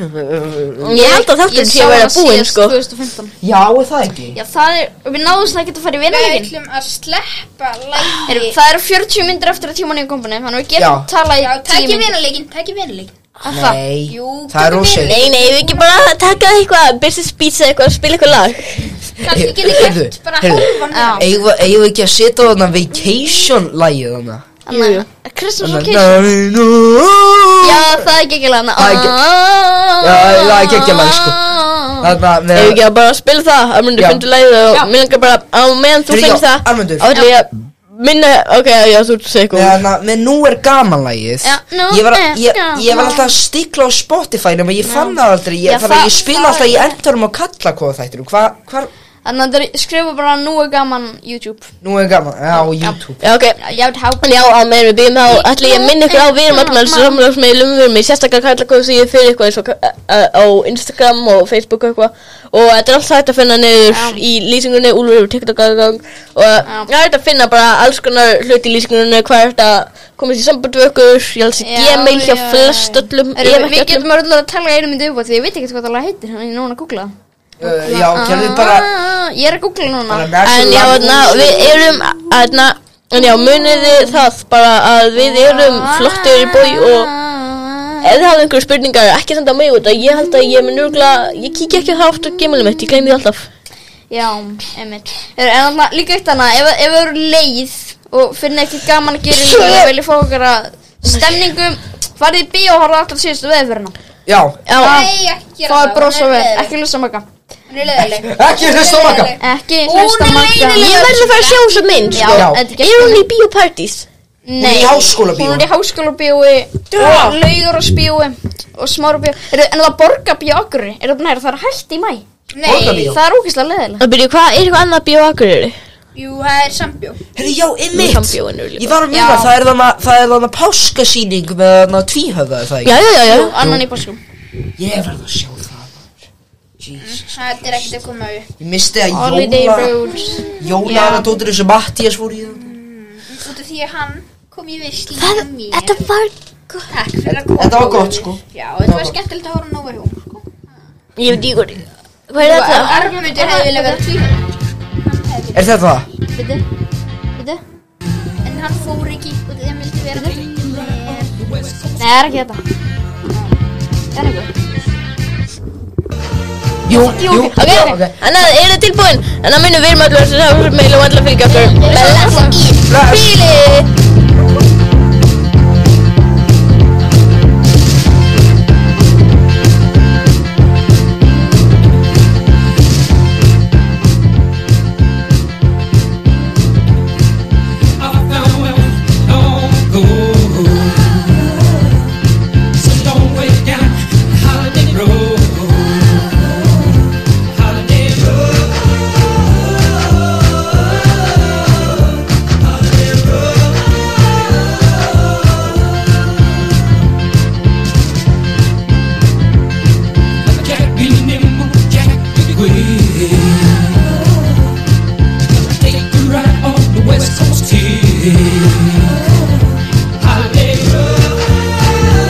Speaker 2: held að þátturinn sé að vera búinn sko
Speaker 1: 2015
Speaker 3: Já, er það ekki?
Speaker 1: Já, það er, við náðum það ekki að fara í
Speaker 4: Við
Speaker 1: vinnalegin
Speaker 4: ætlum að sleppa lægi
Speaker 1: Það eru 40 myndir eftir að tíma nýjum kompani Þannig að við getum
Speaker 3: Já.
Speaker 1: talað í
Speaker 4: Já,
Speaker 1: 10
Speaker 4: takk í
Speaker 1: myndir
Speaker 4: vinuleikin, takk í vinuleikin
Speaker 1: Að það-
Speaker 3: Nei,
Speaker 4: Jú,
Speaker 3: það er
Speaker 4: getur
Speaker 3: ósegn
Speaker 2: Nei, nei, við ekki bara taka eitthvað Business beats eða eitthvað, spila eitthvað lag
Speaker 4: Kannski getur
Speaker 3: Heyrðu,
Speaker 4: gert bara
Speaker 3: heyrðu.
Speaker 4: hálfan
Speaker 1: Já.
Speaker 3: Eigum við- eigum við ekki að setja á þarna vacation-lægið þarna?
Speaker 1: Þannig að Christmas Vacation
Speaker 3: Vacation
Speaker 1: Já, það er geggjulagna
Speaker 3: Það er gegg- Já, það er geggjalag, sko.
Speaker 1: Ah.
Speaker 3: Þarna
Speaker 2: Ef
Speaker 3: með
Speaker 2: ekki að bara spila það, að mundu
Speaker 3: Já.
Speaker 2: fundu lagið og mér langar bara á meðan þú
Speaker 3: Fyrir
Speaker 2: finnst
Speaker 3: já,
Speaker 2: það
Speaker 3: Armundur.
Speaker 2: Þá ætla ég að Oh, minna, ok, já, þú ert að segja
Speaker 3: með
Speaker 2: eitthvað
Speaker 3: þarna, með nú er gamanlægið
Speaker 1: Já, Nú
Speaker 3: Ég var, ég,
Speaker 1: er
Speaker 3: ég var
Speaker 1: gaman.
Speaker 3: alltaf að stikla á Spotify nema ég fann það aldrei ég,
Speaker 1: Já,
Speaker 3: þannig að
Speaker 1: það-
Speaker 3: ég spila alltaf í endurm og kalla hvað þættir Hva, hvar,
Speaker 1: Þannig að þetta er- skrifa bara nú er gaman YouTube
Speaker 3: nú er gaman, já, á YouTube
Speaker 2: Já, ok
Speaker 1: Já, þetta há
Speaker 2: En já, á meðan við byrjum þá ætla ég að minna ykkur á við erum öllum alls samlagsmeilum við erum í sérstaklega kallakóðu síðu fyrir eitthvað eins og ka- eh, á Instagram og Facebook og eitthvað og þetta er allt hægt að finna niður í lýsingunni Úlfur hefur TikTok aðgang og það er hægt að finna bara alls konar hluti í lýsingunni hvað er þetta komast í samband við okkur ég alls í gmail hjá flest öllum
Speaker 1: Erum,
Speaker 2: ef
Speaker 1: við,
Speaker 2: ekki öllum
Speaker 1: við getum öll að tala einu myndi upp á því ég veit ekki hvað það lag heitir þannig ég er núna að googla það
Speaker 3: uh, Já, gerðu bara
Speaker 1: ah, Ég er að googla núna
Speaker 3: Bara
Speaker 2: en já, na, við erum aðna, en já, munið þið það bara að við erum flottur í bói og
Speaker 1: Ah.
Speaker 2: Ef þið hafið einhverju spurningar, ekki senda mig út að ég held að ég mun örgla, ég kíkja ekki á það oft og gemilum mitt, ég gleymi því alltaf.
Speaker 1: Já, einmitt Er- En þannig líka eitt annað ef, ef þið eru leið og finnir ekki gaman að gera í því og viljið fá okkar að stemningu farið í bíó og horfa alltaf síðustu Ah, veðfyrirna
Speaker 3: Já,
Speaker 2: Já,
Speaker 4: Nei, ekki gera
Speaker 1: Þá er brosa
Speaker 4: hún
Speaker 1: við,
Speaker 4: leiðileg.
Speaker 1: ekki hlusta makka
Speaker 4: Hún er leðileg
Speaker 3: ekki hlusta á makka
Speaker 1: Ekki
Speaker 4: Hún er
Speaker 1: hlusta makka
Speaker 4: leiðileg.
Speaker 2: ég verður að fara að sjá þessa mynd,
Speaker 1: Já,
Speaker 2: sko.
Speaker 3: Já.
Speaker 1: þetta
Speaker 2: Er hún í biopartís?
Speaker 1: Nei,
Speaker 3: Hún er í háskólabíói.
Speaker 1: Hún er í háskólabíói og laugurásbíói og smárabíói Eru- En það borga bíóakuri, er það nær það er hægt í mæ
Speaker 4: Nei,
Speaker 3: Borgarbíó.
Speaker 1: Það er ógeðslega leðilega
Speaker 2: Það byrju, hvað, er eitthvað annað bioakur eru?
Speaker 4: jú, það er sambjó
Speaker 3: Herri, já,
Speaker 2: Nú
Speaker 3: einmitt
Speaker 2: sambjóin eru
Speaker 3: Ég
Speaker 2: líka.
Speaker 3: var að minna,
Speaker 1: Já.
Speaker 3: það er þarna, það er þarna páskasýning með þarna tvíhöfða, er það
Speaker 2: Já,
Speaker 3: ekki?
Speaker 2: já, já, já.
Speaker 1: Annan í bóskum
Speaker 3: Ég verð að sjá það Jesus
Speaker 4: Það er ekkert að koma upp
Speaker 3: Ég misti að
Speaker 1: Holiday
Speaker 3: Jóla
Speaker 1: Roads
Speaker 3: Jóla er að dóttir þessu Mattías voru í það
Speaker 4: Út af því að hann kom ég við
Speaker 1: Það,
Speaker 4: slíma mér
Speaker 1: þetta var gott.
Speaker 4: Takk fyrir að koma
Speaker 3: Þetta var gott, sko.
Speaker 4: Já, þetta
Speaker 3: var
Speaker 4: var skemmtilegt að horfa nógu hjá sko.
Speaker 2: Ég veit í hvort
Speaker 1: Hvað er þetta?
Speaker 4: Arnmundur hefði viljað vera tvífara
Speaker 3: Er þetta það?
Speaker 1: Býtu, býtu.
Speaker 4: En hann fór ekki og þeim vildi vera tvífara
Speaker 1: Nei, það er ekki þetta. Það er ekki.
Speaker 3: Jú,
Speaker 1: Jú,
Speaker 3: jú,
Speaker 2: Ok,
Speaker 3: já,
Speaker 2: ok Þannig að eru tilbúin Þannig að minnum við erum allir að það meila og allir að fylgja okkur Bless í
Speaker 3: Bless.
Speaker 2: bíli
Speaker 7: West Coast here. Holiday Road.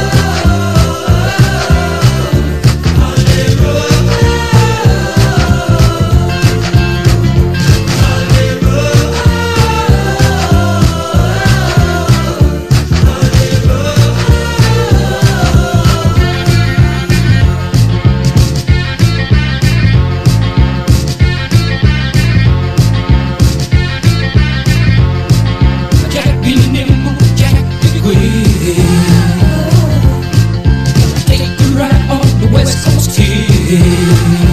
Speaker 7: Jack be nimble, Jack be quick. Take a ride on the West Coast Kid.